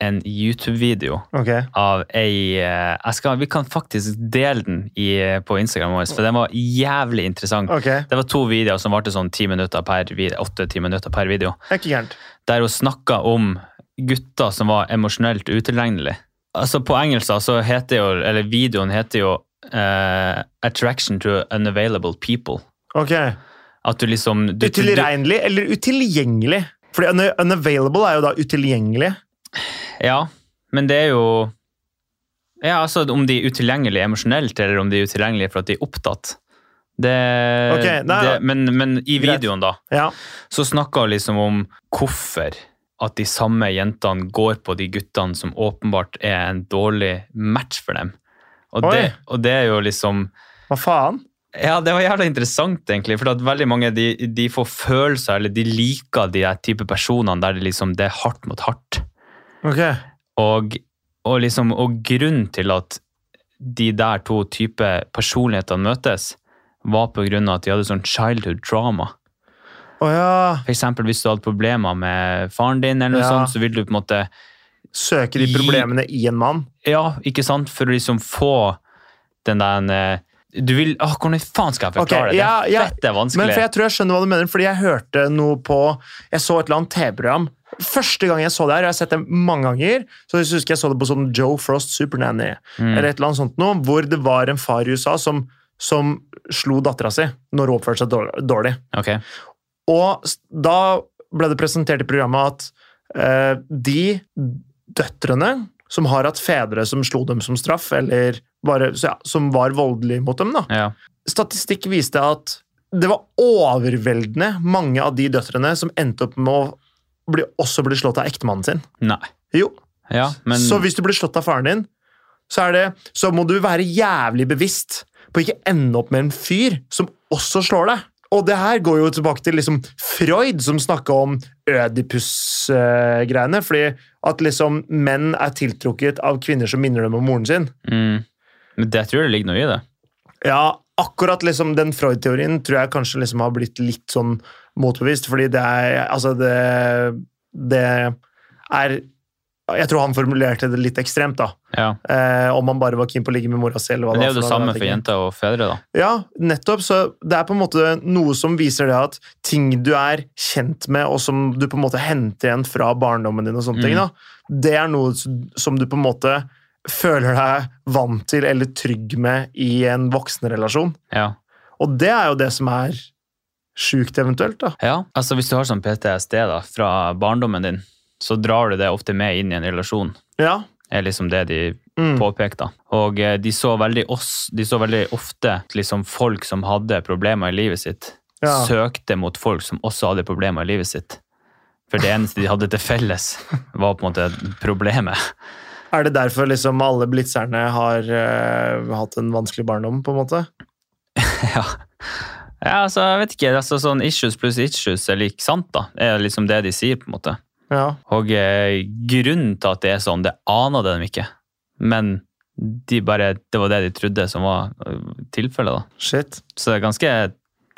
A: en YouTube-video
B: ok.
A: av ei eh, jeg skal, Vi kan faktisk dele den i, eh, på Instagram vår, for den var jævlig interessant.
B: Ok,
A: Det var to videoer som varte sånn 10 minutter per video, 8-10 minutter per video.
B: det er ikke gærent.
A: der hun snakka om gutter som var emosjonelt utilregnelige. Altså På engelsk da, så heter jo, eller videoen heter jo eh, 'Attraction to unavailable people'.
B: Ok.
A: At du liksom du, du,
B: Utilregnelig eller utilgjengelig? Fordi un unavailable er jo da utilgjengelig.
A: Ja, men det er jo Ja, altså om de er utilgjengelige emosjonelt, eller om de er utilgjengelige for at de er opptatt. Det,
B: Ok, nei,
A: det men, men i
B: Greit.
A: videoen, da,
B: Ja.
A: så snakka hun liksom om hvorfor at de samme jentene går på de guttene som åpenbart er en dårlig match for dem. Og
B: Oi.
A: det, og det er jo liksom
B: Hva faen?
A: Ja, det var jævla interessant, egentlig. For at veldig mange de, de får følelser, eller de liker de der type personene der det liksom det er hardt mot hardt.
B: Ok.
A: Og, og liksom Og grunnen til at de der to type personlighetene møtes, var på grunn av at de hadde sånn childhood trauma.
B: Å ja.
A: For eksempel hvis du hadde problemer med faren din, eller noe
B: Ja.
A: sånt, så vil du på en måte
B: Søker de problemene i en mann?
A: Ja, ikke sant? For å liksom få den der eh, Du vil Åh, hvordan faen skal jeg
B: Ok,
A: forklare det?
B: ja,
A: det
B: ja.
A: er fett, det er vanskelig.
B: Men for Jeg tror jeg skjønner hva du mener, fordi jeg hørte noe på Jeg så et eller annet TV-program. Første gang jeg så det her, jeg har sett det mange ganger, så jeg husker jeg så det på sånn Joe Frost Supernanny,
A: Mm.
B: eller et eller annet sånt noe, hvor det var en far i USA som, som slo dattera si når hun oppførte seg dår- dårlig.
A: Ok.
B: Og s- da ble det presentert i programmet at eh, de døtrene som har hatt fedre som slo dem som straff, eller bare, så ja, som var voldelige mot dem, da,
A: Ja.
B: statistikk viste at det var overveldende mange av de døtrene som endte opp med å bli, også bli slått av ektemannen sin.
A: Nei.
B: Jo,
A: Ja, men
B: Så hvis du blir slått av faren din, så, er det, så må du være jævlig bevisst på å ikke ende opp med en fyr som også slår deg. Og det her går jo tilbake til liksom Freud, som snakka om ødipus-greiene. Fordi at liksom menn er tiltrukket av kvinner som minner dem om moren sin.
A: mm, Men det tror jeg det ligger noe i det.
B: Ja, akkurat liksom den Freud-teorien tror jeg kanskje liksom har blitt litt sånn motbevist, fordi det er Altså, det, det er Jeg tror han formulerte det litt ekstremt, da.
A: Ja.
B: Eh, om han bare var keen på å ligge med mora si, eller hva
A: Men det er
B: var
A: jo det
B: for noe,
A: samme
B: vet
A: for
B: jeg ikke.
A: jenter og fedre, da.
B: Ja, nettopp. Så det er på en måte noe som viser det at ting du er kjent med, og som du på en måte henter igjen fra barndommen din, og sånne ting,
A: Mm.
B: da, det er noe s- som du på en måte føler deg vant til eller trygg med i en voksenrelasjon.
A: Ja.
B: Og det er jo det som er sjukt eventuelt, da.
A: ja. Altså, hvis du har sånn PTSD da, fra barndommen din, så drar du det ofte med inn i en relasjon.
B: Ja.
A: er liksom det de
B: Mm.
A: påpekte. da. Og eh, de så veldig, oss, de så veldig ofte liksom folk som hadde problemer i livet sitt,
B: Ja.
A: søkte mot folk som også hadde problemer i livet sitt. For det eneste de hadde til felles, var på en måte problemet.
B: Er det derfor liksom alle blitzerne har eh, hatt en vanskelig barndom, på en måte?
A: ja. ja, altså, jeg vet ikke. Altså, sånn issues pluss issues er lik sant, da. er liksom det de sier, på en måte.
B: Ja.
A: Og eh, grunnen til at det er sånn, det aner de ikke. Men de bare, det var det de trodde som var eh, tilfellet, da.
B: Shit.
A: Så det er ganske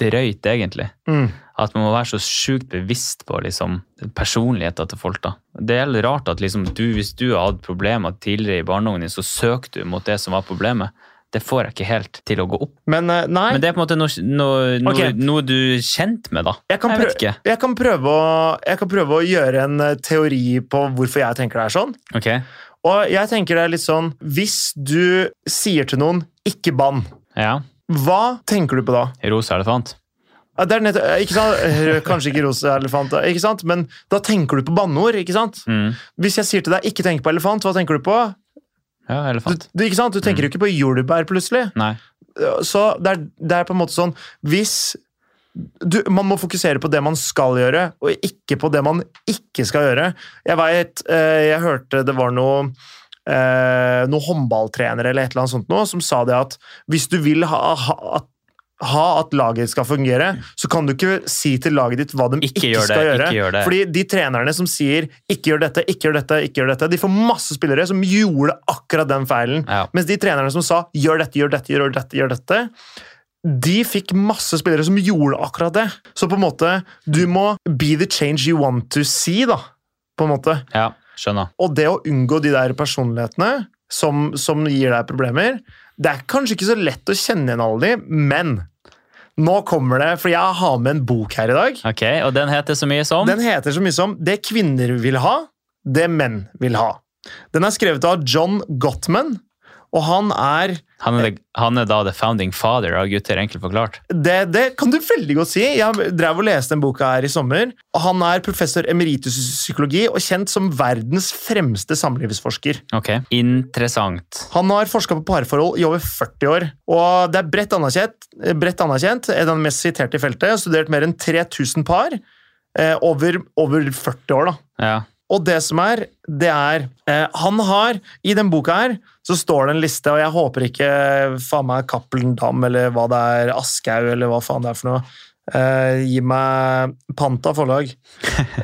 A: drøyt, egentlig.
B: Mm.
A: At man må være så sjukt bevisst på liksom, personligheten til folk. da. Det er helt rart at liksom, du, hvis du har hatt problemer tidligere i barndommen din, så søker du mot det som var problemet. Det får jeg ikke helt til å gå opp.
B: Men eh, nei.
A: Men det er på en måte noe, noe, noe,
B: Ok.
A: noe du er kjent med, da.
B: Jeg kan,
A: Jeg vet
B: prø
A: ikke.
B: jeg, kan prøve å, jeg kan prøve å gjøre en eh, teori på hvorfor jeg tenker det er sånn.
A: Ok,
B: Og jeg tenker det er litt sånn Hvis du sier til noen 'ikke bann',
A: ja.
B: hva tenker du på da?
A: Rosa elefant.
B: Ja, Det er nett, eh, ikke sant? Eh, Kanskje ikke rosa elefant, da, ikke sant? men da tenker du på banneord. ikke sant?
A: Mm.
B: Hvis jeg sier til deg 'ikke tenk på elefant', hva tenker du på?
A: Ja,
B: Du,
A: elefant.
B: du, ikke sant? du tenker jo ikke på jordbær, plutselig.
A: Nei.
B: Så det er, det er på en måte sånn Hvis du, man må fokusere på det man skal gjøre, og ikke på det man ikke skal gjøre. Jeg vet, eh, jeg hørte det var noe eh, noen håndballtrenere eller et eller annet sånt nå, som sa det at hvis du vil ha, ha, at- ha at laget skal fungere, så kan du ikke si til laget ditt hva de
A: Ikke
B: ikke,
A: gjør det,
B: skal gjøre.
A: ikke gjør det.
B: Fordi de trenerne som sier 'ikke gjør dette, ikke gjør dette', ikke gjør dette, de får masse spillere som gjorde akkurat den feilen.
A: Ja.
B: Mens de trenerne som sa 'gjør dette, gjør dette, gjør dette', gjør dette de fikk masse spillere som gjorde akkurat det. Så på en måte, du må be the change you want to see, da. På en måte.
A: ja, skjønner.
B: Og det å unngå de der personlighetene som, som gir deg problemer Det er kanskje ikke så lett å kjenne igjen alle de, men nå kommer det, for jeg har med en bok her i dag.
A: Ok, Og den heter så mye som?
B: Den heter så mye som 'Det kvinner vil ha, det menn vil ha'. Den er skrevet av John Gottman, og han er
A: Han er, han er da the founding father av Gutter enkelt forklart.
B: Det, det kan du veldig godt si. Jeg drev og leste den boka her i sommer. og Han er professor emeritus i psykologi og kjent som verdens fremste samlivsforsker.
A: Ok, Interessant.
B: Han har forska på parforhold i over 40 år, og det er bredt anerkjent. Bredt anerkjent er den mest siterte i feltet. Har studert mer enn 3000 par eh, over, over 40 år. da.
A: Ja.
B: Og det som er, det er eh, Han har I den boka her så står det en liste, og jeg håper ikke eh, faen meg Cappelen Dam eller hva det er, Aschehoug eller hva faen det er for noe. Eh, gi meg Panta forlag.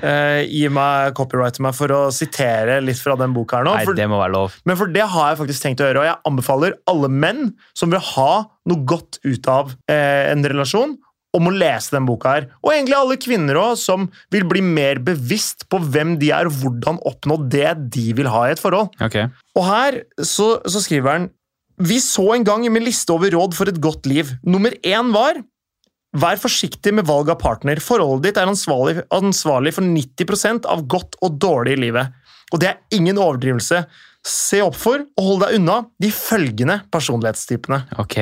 B: Eh, gi meg copyright til meg for å sitere litt fra den boka her nå.
A: Nei,
B: for,
A: det må være lov.
B: men for det har jeg faktisk tenkt å gjøre, og jeg anbefaler alle menn som vil ha noe godt ut av eh, en relasjon, om å lese den boka her. Og egentlig alle kvinner også, som vil bli mer bevisst på hvem de er, og hvordan oppnå det de vil ha i et forhold.
A: Ok.
B: Og her så, så skriver han Vi så en gang med liste over råd for et godt liv. Nummer én var Vær forsiktig med valg av partner. Forholdet ditt er ansvarlig, ansvarlig for 90 av godt og dårlig i livet. Og det er ingen overdrivelse. Se opp for og hold deg unna de følgende personlighetstypene.
A: Ok.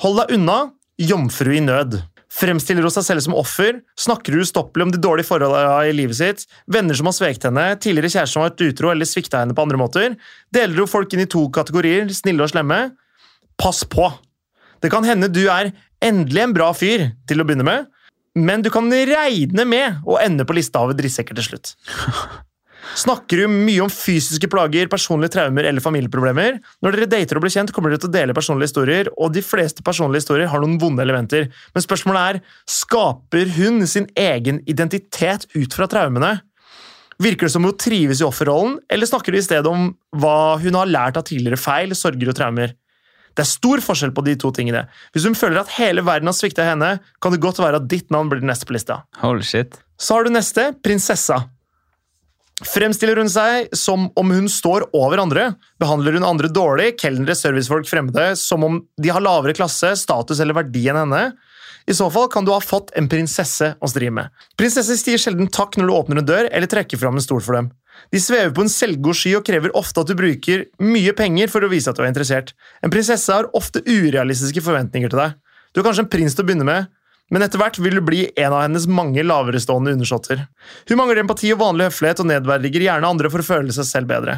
B: Hold deg unna jomfru i nød. Fremstiller hun seg selv som offer, snakker hun ustoppelig om de dårlige forholdene i livet sitt, venner som har sveket henne, tidligere kjærester som har vært utro eller svikta henne på andre måter, deler hun folk inn i to kategorier, snille og slemme. Pass på! Det kan hende du er endelig en bra fyr til å begynne med, men du kan regne med å ende på lista over drittsekker til slutt. Snakker du mye om fysiske plager, personlige traumer eller familieproblemer? Når dere dater og blir kjent, kommer dere til å dele personlige historier, og de fleste personlige historier har noen vonde elementer. Men spørsmålet er, skaper hun sin egen identitet ut fra traumene? Virker det som hun trives i offerrollen, eller snakker du i stedet om hva hun har lært av tidligere feil, sorger og traumer? Det er stor forskjell på de to tingene. Hvis hun føler at hele verden har svikta henne, kan det godt være at ditt navn blir det neste på lista.
A: Holy shit.
B: Så har du neste, prinsessa. Fremstiller hun seg som om hun står over andre? Behandler hun andre dårlig, kelnere, servicefolk, fremmede, som om de har lavere klasse, status eller verdi enn henne? I så fall kan du ha fått en prinsesse å stri med. Prinsesser sier sjelden takk når du åpner en dør eller trekker fram en stol for dem. De svever på en selvgod sky og krever ofte at du bruker mye penger for å vise at du er interessert. En prinsesse har ofte urealistiske forventninger til deg. Du er kanskje en prins til å begynne med, men etter hvert vil du bli en av hennes mange laverestående undersåtter. Hun mangler empati og vanlig høflighet og nedverdiger gjerne andre for å føle seg selv bedre.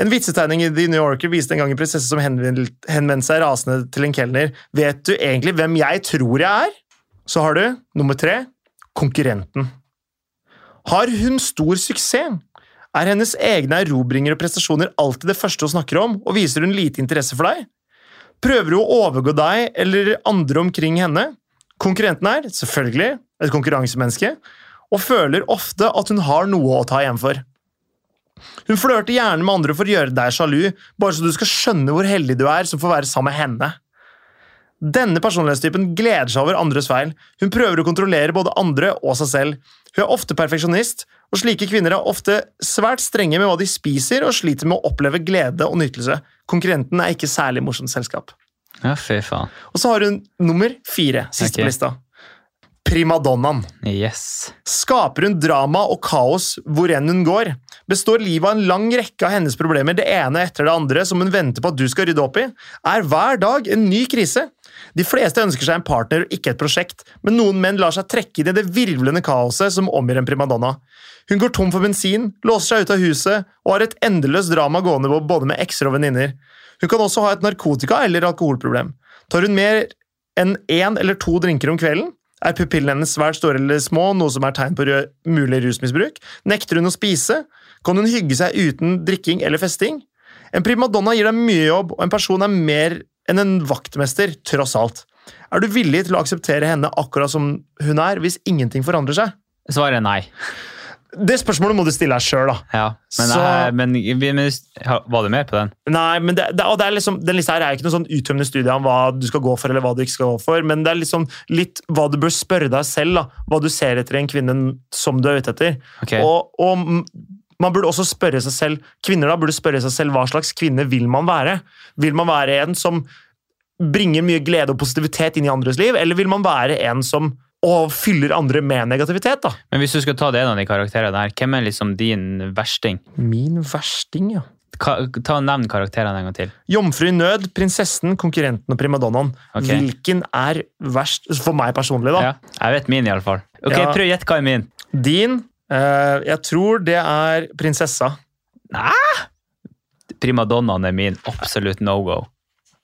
B: En vitsetegning i The New Yorker viste en gang en prinsesse som henvend- henvendte seg rasende til en kelner. Vet du egentlig hvem jeg tror jeg er? Så har du, nummer tre, konkurrenten. Har hun stor suksess? Er hennes egne erobringer og prestasjoner alltid det første hun snakker om, og viser hun lite interesse for deg? Prøver hun å overgå deg eller andre omkring henne? Konkurrenten er, selvfølgelig, et konkurransemenneske, og føler ofte at hun har noe å ta igjen for. Hun flørter gjerne med andre for å gjøre deg sjalu, bare så du skal skjønne hvor heldig du er som får være sammen med henne. Denne personlighetstypen gleder seg over andres feil. Hun prøver å kontrollere både andre og seg selv. Hun er ofte perfeksjonist, og slike kvinner er ofte svært strenge med hva de spiser, og sliter med å oppleve glede og nytelse. Konkurrenten er ikke særlig morsomt selskap.
A: Ja, fy faen.
B: Og så har hun nummer fire, siste
A: Ok.
B: på lista. Primadonnaen.
A: Yes.
B: Skaper hun drama og kaos hvor enn hun går? Består livet av en lang rekke av hennes problemer, det ene etter det andre, som hun venter på at du skal rydde opp i? Er hver dag en ny krise? De fleste ønsker seg en partner og ikke et prosjekt, men noen menn lar seg trekke inn i det virvlende kaoset som omgir en primadonna. Hun går tom for bensin, låser seg ut av huset og har et endeløst drama gående på både med ekser og venninner. Hun kan også ha et narkotika- eller alkoholproblem. Tar hun mer enn én eller to drinker om kvelden, Er pupillene hennes svært store eller små, noe som er tegn på rø- mulig rusmisbruk? Nekter hun å spise? Kan hun hygge seg uten drikking eller festing? En primadonna gir deg mye jobb, og en person er mer enn en vaktmester, tross alt. Er du villig til å akseptere henne akkurat som hun er, hvis ingenting forandrer seg?
A: Svaret er nei.
B: Det spørsmålet må du stille deg sjøl, da.
A: Ja, men,
B: Så-
A: eh, men, vi- men var du med på den?
B: Nei, men det, det, og det er liksom, Den lista her er ikke noe sånn uttømmende studie om hva du skal gå for, eller hva du ikke skal gå for, men det er liksom litt hva du bør spørre deg selv. da, Hva du ser etter i en kvinne som du er ute etter.
A: Ok.
B: Og, og m- man burde også spørre seg selv, kvinner da, burde spørre seg selv hva slags kvinne vil man være. Vil man være en som bringer mye glede og positivitet inn i andres liv, eller vil man være en som og fyller andre med negativitet, da?
A: Men hvis du skal ta det en av de karakterene her, hvem er liksom din versting?
B: Min versting, ja.
A: Ka ta og Nevn karakterene en gang til.
B: Jomfru i nød, prinsessen, konkurrenten og primadonnaen.
A: Ok.
B: Hvilken er verst for meg personlig, da?
A: Ja, jeg vet min, iallfall. Ok,
B: Ja.
A: prøv å gjette hva er min.
B: Din eh, Jeg tror det er prinsessa.
A: Primadonnaen er min absolutt no go.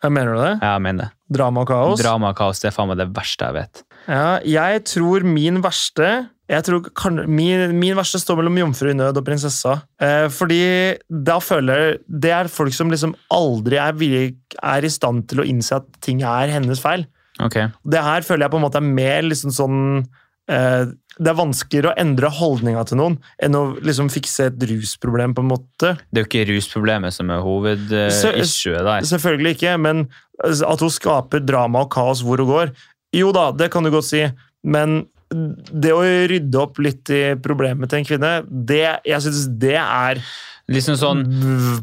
B: Jeg mener du det?
A: Jeg mener det.
B: Drama og kaos?
A: Drama og kaos det er faen meg det verste jeg vet.
B: Ja, jeg tror min verste jeg tror kan, min, min verste står mellom jomfru i nød og prinsessa. Eh, fordi da føler jeg Det er folk som liksom aldri er, villig, er i stand til å innse at ting er hennes feil.
A: Ok,
B: Det her føler jeg på en måte er mer liksom sånn eh, Det er vanskeligere å endre holdninga til noen enn å liksom fikse et rusproblem, på en måte.
A: Det er jo ikke rusproblemet som er
B: Så-
A: hovedissuet der.
B: Eh, Selvfølgelig ikke, men eh, at hun skaper drama og kaos hvor hun går Jo da, det kan du godt si, men det å rydde opp litt i problemet til en kvinne, det, jeg synes det er
A: Liksom sånn,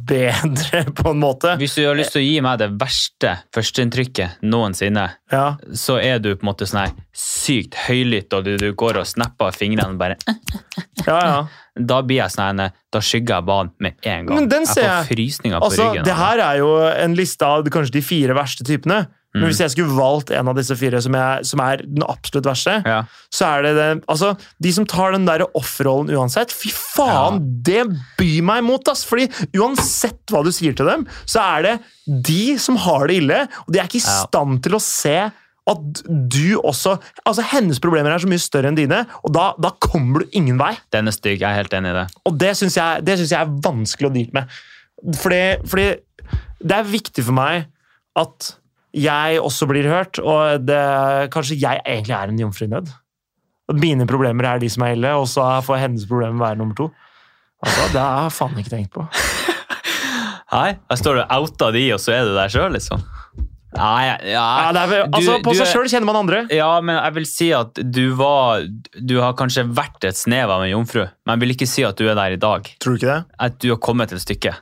B: bedre, på en måte.
A: Hvis du har lyst til å gi meg det verste førsteinntrykket noensinne,
B: Ja.
A: så er du på en måte sånn her sykt høylytt, og du, du går og snapper av fingrene og bare eh.
B: ja, ja.
A: Da blir jeg sånn her, da skygger jeg banen med en gang.
B: Men den ser
A: jeg
B: jeg.
A: får frysninger på
B: Altså,
A: ryggen.
B: det her er jo en liste av kanskje de fire verste typene.
A: Mm.
B: Men hvis jeg skulle valgt en av disse fire som, jeg, som er den absolutt verste,
A: ja.
B: så er det den Altså, de som tar den der offerrollen uansett, fy faen, det byr meg imot, ass! Fordi uansett hva du sier til dem, så er det de som har det ille, og de er ikke i
A: Ja.
B: stand til å se at du også Altså, hennes problemer er så mye større enn dine, og da, da kommer du ingen vei.
A: Den er stygg, jeg er helt enig i det.
B: Og det syns jeg, det synes jeg er vanskelig å deale med. Fordi, fordi det er viktig for meg at jeg også blir hørt, og det, kanskje jeg egentlig er en jomfru i nød. At mine problemer er de som er ille, og så får hennes problemer være nummer to. Altså, Det har jeg faen ikke tenkt på.
A: Nei, jeg står og outer de, og så er du der sjøl, liksom. Nei, ja,
B: Ja, det er, vel-
A: du-
B: altså, på
A: du
B: seg
A: er-
B: sjøl kjenner man andre.
A: ja, men jeg vil si at du var Du har kanskje vært et snev av en jomfru, men jeg vil ikke si at du er der i dag.
B: Tror du ikke det?
A: At du har kommet til stykket.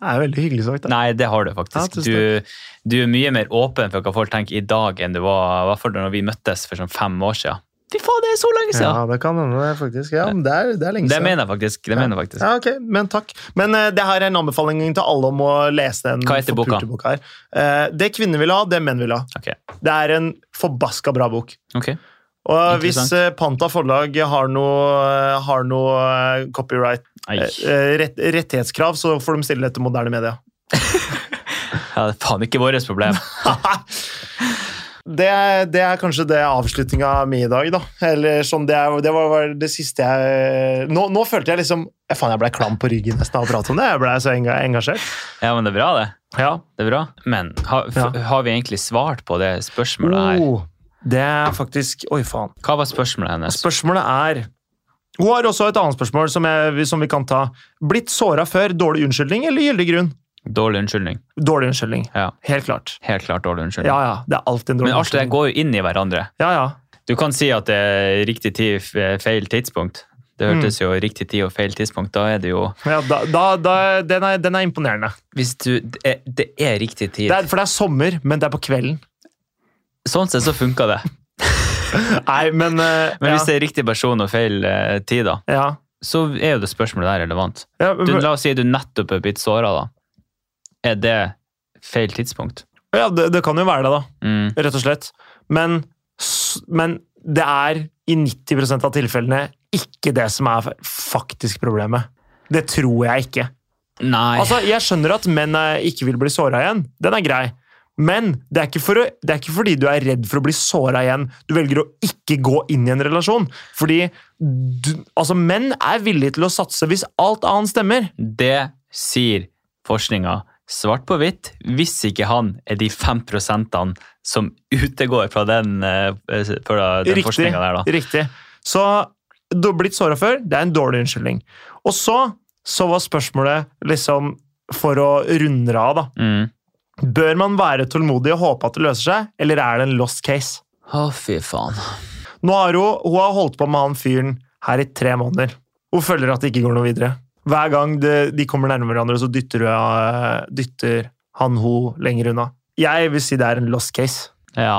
B: Det er veldig hyggelig sagt.
A: Nei, det har du
B: Ja,
A: faktisk.
B: tusen
A: Du, du er mye mer åpen for hva folk tenker i dag, enn du var i hvert fall da vi møttes for sånn fem år siden. Fy faen, det er så lenge siden!
B: det kan hende, det, faktisk. Ja, men det er, det er lenge
A: det mener jeg faktisk. Det mener jeg faktisk.
B: Ja, ok, men takk. Men eh, det her er en anbefaling til alle om å lese den
A: Hva heter boka?
B: forpulte boka her. Eh, det kvinner vil ha, det menn vil ha.
A: Ok.
B: Det er en forbaska bra bok.
A: Ok.
B: Og hvis
A: Interessant.
B: eh, Panta forlag har noe, har noe eh, copyright,
A: Ei.
B: eh, eh, rett, rettighetskrav, så får de stille etter moderne media.
A: Ja, det er faen ikke vårt problem.
B: Det er, det er kanskje det avslutninga mi i dag, da. Eller sånn, det, er, det var, var det siste jeg eh, Nå, nå følte jeg liksom eh, Faen, jeg ble klam på ryggen nesten av å prate om det. Jeg ble så enga- engasjert.
A: Ja, men det er bra, det.
B: Ja,
A: Det er bra. Men har, f-
B: Ja.
A: har vi egentlig svart på det spørsmålet her?
B: Oh, det er faktisk Oi, faen.
A: Hva var spørsmålet hennes?
B: Spørsmålet er Hun har også et annet spørsmål som, jeg, som vi kan ta. Blitt såra før. Dårlig unnskyldning eller gyldig grunn?
A: Dårlig unnskyldning.
B: Dårlig unnskyldning.
A: Ja,
B: Helt klart.
A: helt klart dårlig unnskyldning.
B: Ja, ja. Det er alltid en dårlig
A: Men alt det der
B: unnskyldning.
A: går jo inn i hverandre.
B: Ja, ja.
A: Du kan si at det er riktig tid, f- eh, feil tidspunkt.
B: Mm.
A: Det hørtes jo riktig tid og feil tidspunkt. Da er det jo
B: ja da, da, da, den, er, den er imponerende.
A: Hvis du Det er, det er riktig tid.
B: Det er, for det er sommer, men det er på kvelden.
A: Sånn sett så funka det.
B: Nei, men eh,
A: Men
B: ja,
A: hvis det er riktig person og feil eh, tid, da,
B: ja.
A: så er jo det spørsmålet der relevant.
B: Ja,
A: Du,
B: men-
A: la oss si du nettopp er blitt såra, da. Er det feil tidspunkt?
B: ja det, det kan jo være det, da.
A: Mm.
B: Rett og slett. Men, s- men det er i 90 av tilfellene ikke det som er faktisk problemet. Det tror jeg ikke.
A: Nei.
B: Altså, Jeg skjønner at menn eh, ikke vil bli såra igjen. Den er grei. Men det er, ikke for å, det er ikke fordi du er redd for å bli såra igjen. Du velger å ikke gå inn i en relasjon. Fordi du, altså, menn er villige til å satse hvis alt annet stemmer.
A: Det sier forskninga svart på hvitt, hvis ikke han er de 5 som utegår fra den, eh, fra den
B: Riktig.
A: forskninga der, da.
B: Riktig. Så du har blitt såra før. Det er en dårlig unnskyldning. Og så, så var spørsmålet liksom for å runde det av, da.
A: Mm.
B: Bør man være tålmodig og håpe at det løser seg, eller er det en lost case?
A: Å, fy faen.
B: Nå har hun, hun har holdt på med han fyren her i tre måneder. Hun føler at det ikke går noe videre. Hver gang det, de kommer nærmere hverandre, så dytter, hun, eh, dytter han hun lenger unna. Jeg vil si det er en lost case.
A: Ja.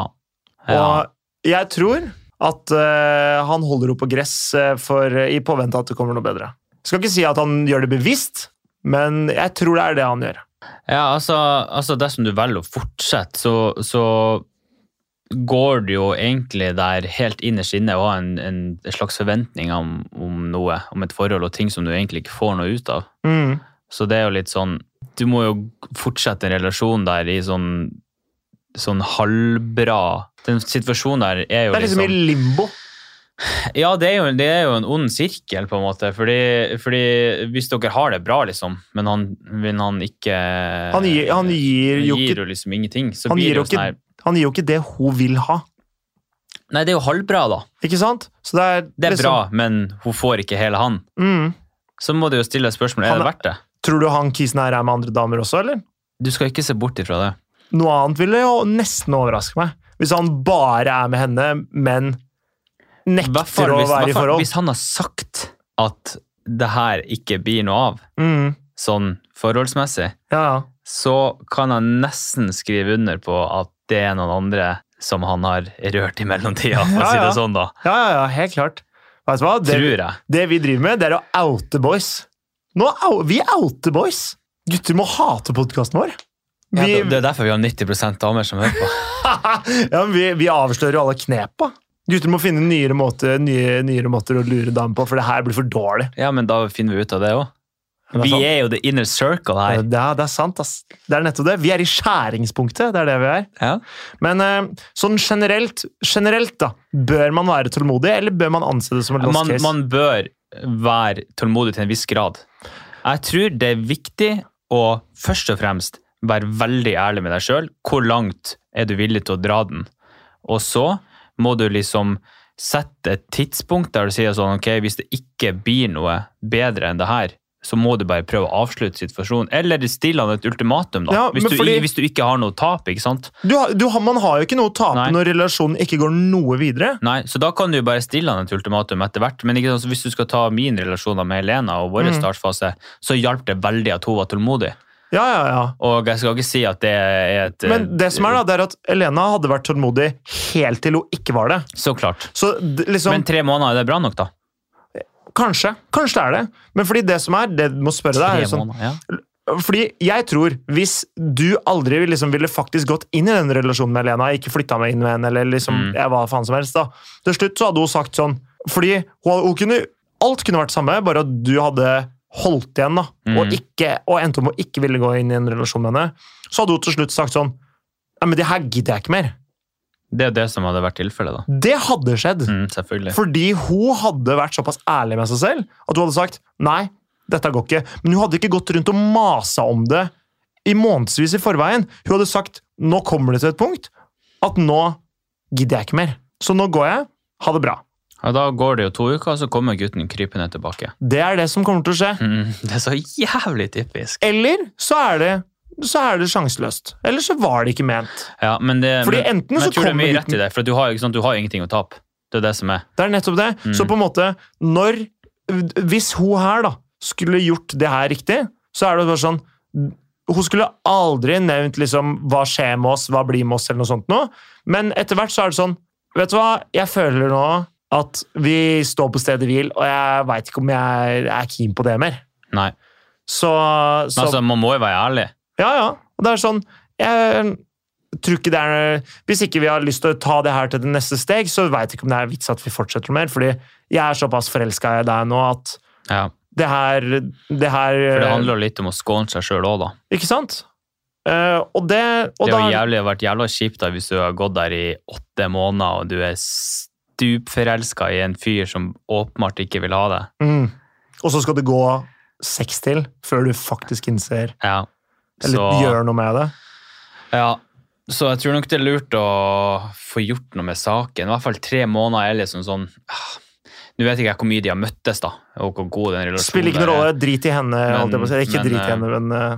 A: ja.
B: Og jeg tror at eh, han holder henne på gress eh, for, i påvente at det kommer noe bedre. Jeg skal ikke si at han gjør det bevisst, men jeg tror det er det han gjør.
A: Ja, altså, altså dersom du velger å fortsette, så, så går du jo egentlig der helt innerst inne og har en, en slags forventning om, om noe, om et forhold og ting som du egentlig ikke får noe ut av.
B: Mm.
A: Så det er jo litt sånn Du må jo fortsette en relasjon der i sånn, sånn halvbra Den situasjonen der er jo
B: Det er liksom i limbo.
A: ja, det er, jo, det er jo en ond sirkel, på en måte. Fordi, fordi hvis dere har det bra, liksom, men han, men han ikke
B: Han gir, han gir jo
A: Eh, gir
B: ikke
A: jo liksom ingenting. Så
B: Han
A: blir
B: gir
A: det
B: jo
A: jo sånn
B: ikke,
A: her
B: han gir jo ikke det hun vil ha.
A: Nei, det er jo halvbra, da.
B: Ikke sant? Så det er,
A: Det er
B: liksom-
A: bra, men hun får ikke hele han.
B: Mm.
A: Så må du jo stille spørsmålet er
B: Han
A: det
B: er-
A: verdt det.
B: Tror du han kisen her er med andre damer også, eller?
A: Du skal ikke se bort ifra det.
B: Noe annet ville jo nesten overraske meg. Hvis han bare er med henne, men nekter å
A: hvis,
B: være i
A: hvertfall
B: forhold.
A: hvis han har sagt at det her ikke blir noe av,
B: Mm.
A: sånn forholdsmessig,
B: Ja, ja.
A: så kan han nesten skrive under på at det er noen andre som han har rørt i mellomtida, for å
B: Ja,
A: si det
B: ja.
A: sånn, da.
B: ja, ja, ja helt klart. Vet du hva? Det,
A: Tror jeg.
B: Det vi driver med, det er å oute boys. Nå, au- vi outer boys! Gutter må hate podkasten vår. Vi, ja,
A: Det er derfor vi har 90 damer som hører på.
B: men vi, vi avslører jo alle knepa. Gutter må finne nyere måter, nye, nyere måter å lure damer på, for det her blir for dårlig.
A: Ja, men da finner vi ut av det òg.
B: Det er
A: Vi
B: sant.
A: er jo the inner circle
B: Ja,
A: her.
B: det er- det er sant, ass. Det er nettopp det. Vi er i skjæringspunktet. det er det vi er.
A: Ja.
B: Men eh, sånn generelt, generelt da, bør man være tålmodig, eller bør man anse det som en lost
A: Man,
B: case?
A: man bør være tålmodig til en viss grad. Jeg tror det er viktig å først og fremst være veldig ærlig med deg sjøl. Hvor langt er du villig til å dra den? Og så må du liksom sette et tidspunkt der du sier sånn ok, hvis det ikke blir noe bedre enn det her, så må du bare prøve å avslutte situasjonen. Eller stille han et ultimatum, da.
B: Ja,
A: hvis,
B: men
A: du,
B: fordi-
A: hvis du ikke har noe tap, ikke sant.
B: du, har- du, har- man har jo ikke noe å tape
A: Nei.
B: når relasjonen ikke går noe videre.
A: Nei, så da kan du jo bare stille han et ultimatum etter hvert. Men ikke sant, så hvis du skal ta min relasjon da med Helena og vår
B: Mm.
A: startfase, så hjalp det veldig at hun var tålmodig.
B: Ja, ja, ja.
A: Og jeg skal ikke si at det er et
B: Men det som er da, det er at Elena hadde vært tålmodig helt til hun ikke var det.
A: Så klart.
B: Så d- liksom,
A: Men tre måneder, er det bra nok, da?
B: kanskje, kanskje det er det. Men fordi det som er, det du må spørre deg, er
A: Tre
B: jo sånn,
A: måneder, ja.
B: fordi jeg tror hvis du aldri liksom ville faktisk gått inn i den relasjonen med Elena, ikke flyttet meg inn med henne, eller liksom,
A: Mm.
B: jeg hva faen som helst da, til slutt så hadde hun sagt sånn, fordi hun, hun kunne, alt kunne vært samme, bare at du hadde holdt igjen da, og,
A: Mm.
B: ikke, og endte om å ikke ville gå inn i en relasjon med henne, så hadde hun til slutt sagt sånn, «Nei, men det her gidder jeg ikke mer.
A: Det er jo det som hadde vært tilfellet, da.
B: Det hadde skjedd.
A: Mm, selvfølgelig.
B: Fordi hun hadde vært såpass ærlig med seg selv at hun hadde sagt nei, dette går ikke. Men hun hadde ikke gått rundt og masa om det i månedsvis i forveien. Hun hadde sagt nå kommer det til et punkt at nå gidder jeg ikke mer. Så nå går jeg. Ha det bra.
A: Og da går det jo to uker, og så kommer gutten krypende tilbake.
B: Det er det som kommer til å skje.
A: Mm, det er så jævlig typisk.
B: Eller så er det så er det sjanseløst. Eller så var det ikke ment.
A: Ja, men det,
B: Fordi
A: Eh, men,
B: enten
A: men
B: så
A: jeg tror det er
B: kommer
A: mye rett
B: gutten
A: i det, for du har, ikke sant, du har ingenting å tape. Det er det som er.
B: Det er nettopp det.
A: Mm.
B: Så på en måte, når Hvis hun her da skulle gjort det her riktig, så er det bare sånn Hun skulle aldri nevnt liksom hva skjer med oss, hva blir med oss, eller noe sånt noe. Men etter hvert så er det sånn Vet du hva, jeg føler nå at vi står på stedet hvil, og jeg veit ikke om jeg er keen på det mer.
A: Nei.
B: Så,
A: Men
B: så
A: altså, man må jo være ærlig.
B: ja, ja. Og det er sånn Jeg tror ikke det er Hvis ikke vi har lyst til å ta det her til det neste steg, så veit jeg ikke om det er vits at vi fortsetter mer, fordi jeg er såpass forelska i deg nå at
A: Ja.
B: det her, det her Eh.
A: For det handler jo litt om å skåne seg sjøl òg, da.
B: Ikke sant? Eh, og det, og
A: Det er jo
B: da-
A: jævlig, det har vært jævla kjipt da, hvis du har gått der i åtte måneder og du er stupforelska i en fyr som åpenbart ikke vil ha deg.
B: mm. og så skal det gå seks til før du faktisk innser
A: Ja.
B: eller
A: Så,
B: gjør noe med det.
A: ja. Så jeg tror nok det er lurt å få gjort noe med saken. I hvert fall tre måneder er liksom sånn ah, Nå vet ikke jeg hvor mye de har møttes, da, og hvor god den relasjonen
B: Spiller ikke noen
A: der
B: rolle. Drit i henne.
A: Men-
B: holdt jeg på å si. Ikke
A: men,
B: drit i henne, men eh,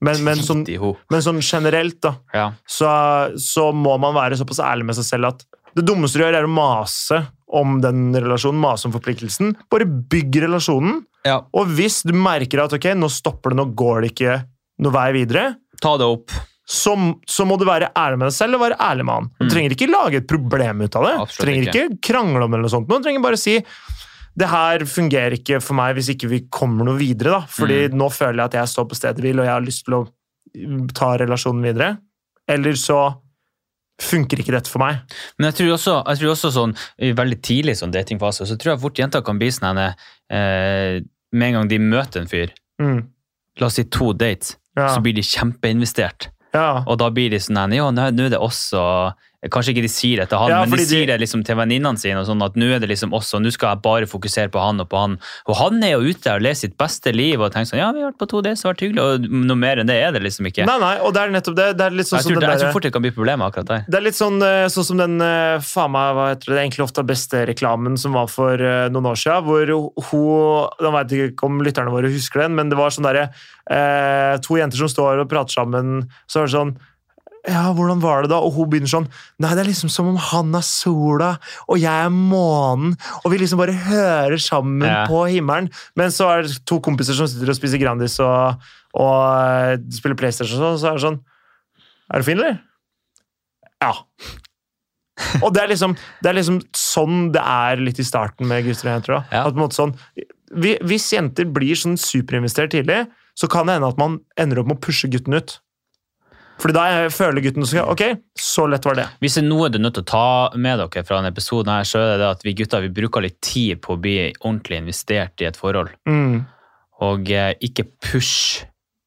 B: men, men,
A: Drit
B: sånn,
A: i ho.
B: men sånn generelt, da,
A: Ja.
B: så, så må man være såpass ærlig med seg selv at det dummeste du gjør, er å mase om den relasjonen, mase om forpliktelsen. Bare bygg relasjonen,
A: ja.
B: og hvis du merker at ok, nå stopper det, nå går det ikke noe vei videre,
A: Ta det opp.
B: så, så må du være ærlig med deg selv og være ærlig med han. Du
A: Mm.
B: trenger ikke lage et problem ut av det.
A: Absolutt
B: Du trenger ikke. krangle om det eller noe sånt. men Du trenger bare si det her fungerer ikke for meg hvis ikke vi kommer noe videre. da. Fordi
A: Mm.
B: nå føler jeg at jeg står på stedet hvil, og jeg har lyst til å mm, ta relasjonen videre. Eller så funker ikke dette for meg.
A: Men jeg tror også, jeg tror også sånn, i veldig tidlig sånn datingfase, så tror jeg fort jenter kan bli sånn henne eh, Med en gang de møter en fyr,
B: Mm.
A: la oss si to dates,
B: Ja.
A: så blir de kjempeinvestert.
B: ja.
A: Og da blir de sånn henne, ja, nå nå er det også Kanskje ikke de sier det til han,
B: Ja,
A: men de,
B: fordi de-
A: sier det liksom til venninnene sine. og sånn at nå er det liksom også, nå skal jeg bare fokusere på han og på han. Og han er jo ute og lever sitt beste liv og tenker sånn Ja, vi har vært på to dates, det har vært hyggelig. Og noe mer enn det er det liksom ikke.
B: Nei, nei, og det er nettopp det. Det er litt sånn
A: jeg,
B: som
A: tror,
B: den
A: jeg
B: derre-
A: tror fort det kan bli problemer akkurat der.
B: Det er litt sånn, eh, sånn som den eh, faen meg, hva heter det, egentlig ofte beste reklamen som var for eh, noen år siden, hvor hun, jeg vet ikke om lytterne våre husker den, men det var sånn der, eh, to jenter som står og prater sammen, så er det sånn, ja, hvordan var det da? Og hun begynner sånn, nei, det er liksom som om han er sola, og jeg er månen, og vi liksom bare hører sammen
A: Ja.
B: på himmelen. Men så er det to kompiser som sitter og spiser Grandis og, og eh, spiller Playstation, og sånn, så er det sånn, er du fin, eller? Ja. Og det er, liksom, det er liksom sånn det er litt i starten med gutter og jenter. da.
A: Ja.
B: At på en måte sånn, vi- hvis jenter blir sånn superinvestert tidlig, så kan det hende at man ender opp med å pushe gutten ut. Fordi da føler gutten så, Ok, så lett var det.
A: Hvis det er noe du er nødt til å ta med dere fra denne episoden, her, så er det det at vi gutter vi bruker litt tid på å bli ordentlig investert i et forhold.
B: Mm.
A: Og eh, ikke push,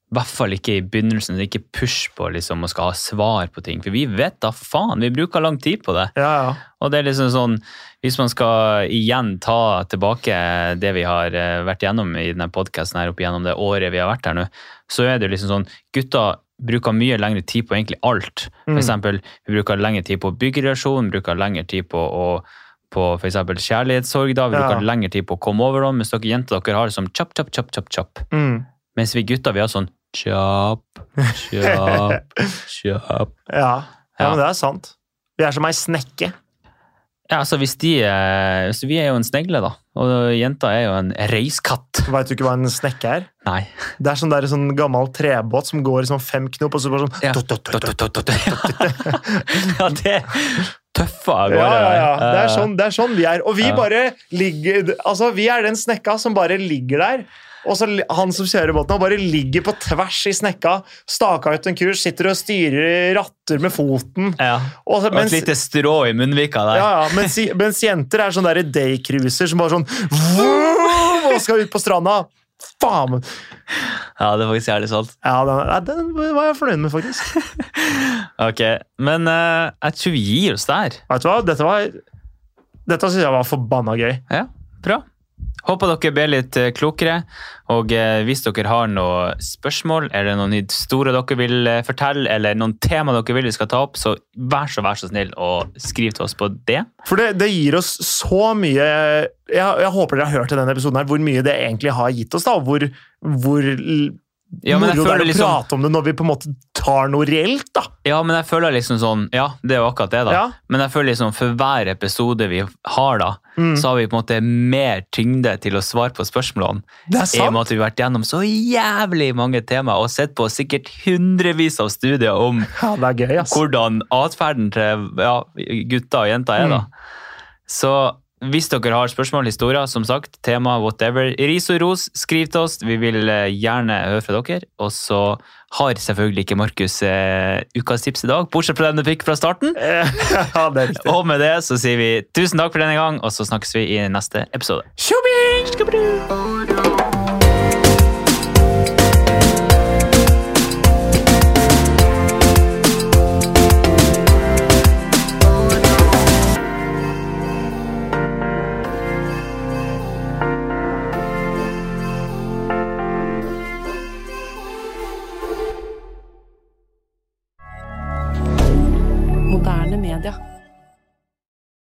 A: i hvert fall ikke i begynnelsen, ikke push på liksom, å skal ha svar på ting. For vi vet da faen, vi bruker lang tid på det.
B: Ja, ja.
A: Og det er liksom sånn, hvis man skal igjen ta tilbake det vi har eh, vært gjennom i denne podcasten her opp igjennom det året vi har vært her nå, så er det jo liksom sånn, gutter bruker mye lengre tid på egentlig alt. For
B: Mm.
A: eksempel, vi bruker lengre tid på å bygge relasjon, bruker lengre tid på å på for eksempel kjærlighetssorg da, vi
B: Ja.
A: bruker lengre tid på å komme over dem, mens dere jenter dere har det som chop, chop, chop, chop, chop.
B: Mm.
A: Mens vi gutter, vi har sånn chop, chop, chop.
B: ja. ja,
A: Ja.
B: men det er sant. Vi er som ei snekke.
A: Ja, altså hvis de eh, så Vi er jo en snegle, da. Og jenta er jo en reiskatt.
B: Veit du ikke hva en snekke er?
A: Nei.
B: Det er sånn, der, sånn gammel trebåt som går i sånn fem knop, og så bare sånn
A: Ja.
B: tut, tut, tut, tut.
A: ja, det er tøffe av gårde.
B: Ja, ja, ja. Det er
A: Eh,
B: sånn, det er sånn vi er. Og vi
A: Ja.
B: bare ligger Altså, vi er den snekka som bare ligger der. Og så li- han som kjører båten, han bare ligger på tvers i snekka, staka ut en kurs, sitter og styrer ratter med foten.
A: Ja.
B: Og
A: Og
B: så,
A: et
B: mens,
A: lite strå i munnvika der.
B: ja, ja, mens, mens jenter er sånne der daycruiser som bare sånn vroom, og skal ut på stranda. Faen!
A: Ja, det er faktisk jævlig sant.
B: Ja, den, nei, den var jeg fornøyd med, faktisk.
A: Ok, Men eh, jeg tror vi gir oss der.
B: Vet du hva? Dette var dette syns jeg var forbanna gøy.
A: Ja, bra. Håper dere ble litt eh, klokere, og eh, hvis dere har noen spørsmål, eller noen historier dere vil eh, fortelle, eller noen tema dere vil vi skal ta opp, så vær så, vær så snill og skriv til oss på det.
B: For det, det gir oss så mye jeg, jeg håper dere har hørt i denne episoden her hvor mye det egentlig har gitt oss, da. og Hvor, hvor l-
A: Ja, men jeg
B: moro det er
A: føler
B: å
A: liksom-
B: prate om det når vi på en måte tar noe reelt, da.
A: Ja, men jeg føler liksom sånn, ja, det er jo akkurat det da.
B: Ja.
A: Men jeg føler liksom for hver episode vi har da,
B: Mm.
A: så har vi på en måte mer tyngde til å svare på spørsmålene.
B: Det er
A: I og med
B: sant.
A: at vi har vært gjennom så jævlig mange temaer og sett på sikkert hundrevis av studier om
B: Ja, det er gøy, ass.
A: hvordan atferden til ja, gutter og jenter er da. Så hvis dere har spørsmål, historier, som sagt, tema, whatever, ris og ros, skriv til oss. Vi vil eh, gjerne høre fra dere. Og så har selvfølgelig ikke Markus eh, ukas tips i dag, bortsett fra den du fikk fra starten.
B: ja, det er riktig.
A: Og med det så sier vi tusen takk for denne gang, og så snakkes vi i neste episode.
B: Tjobing!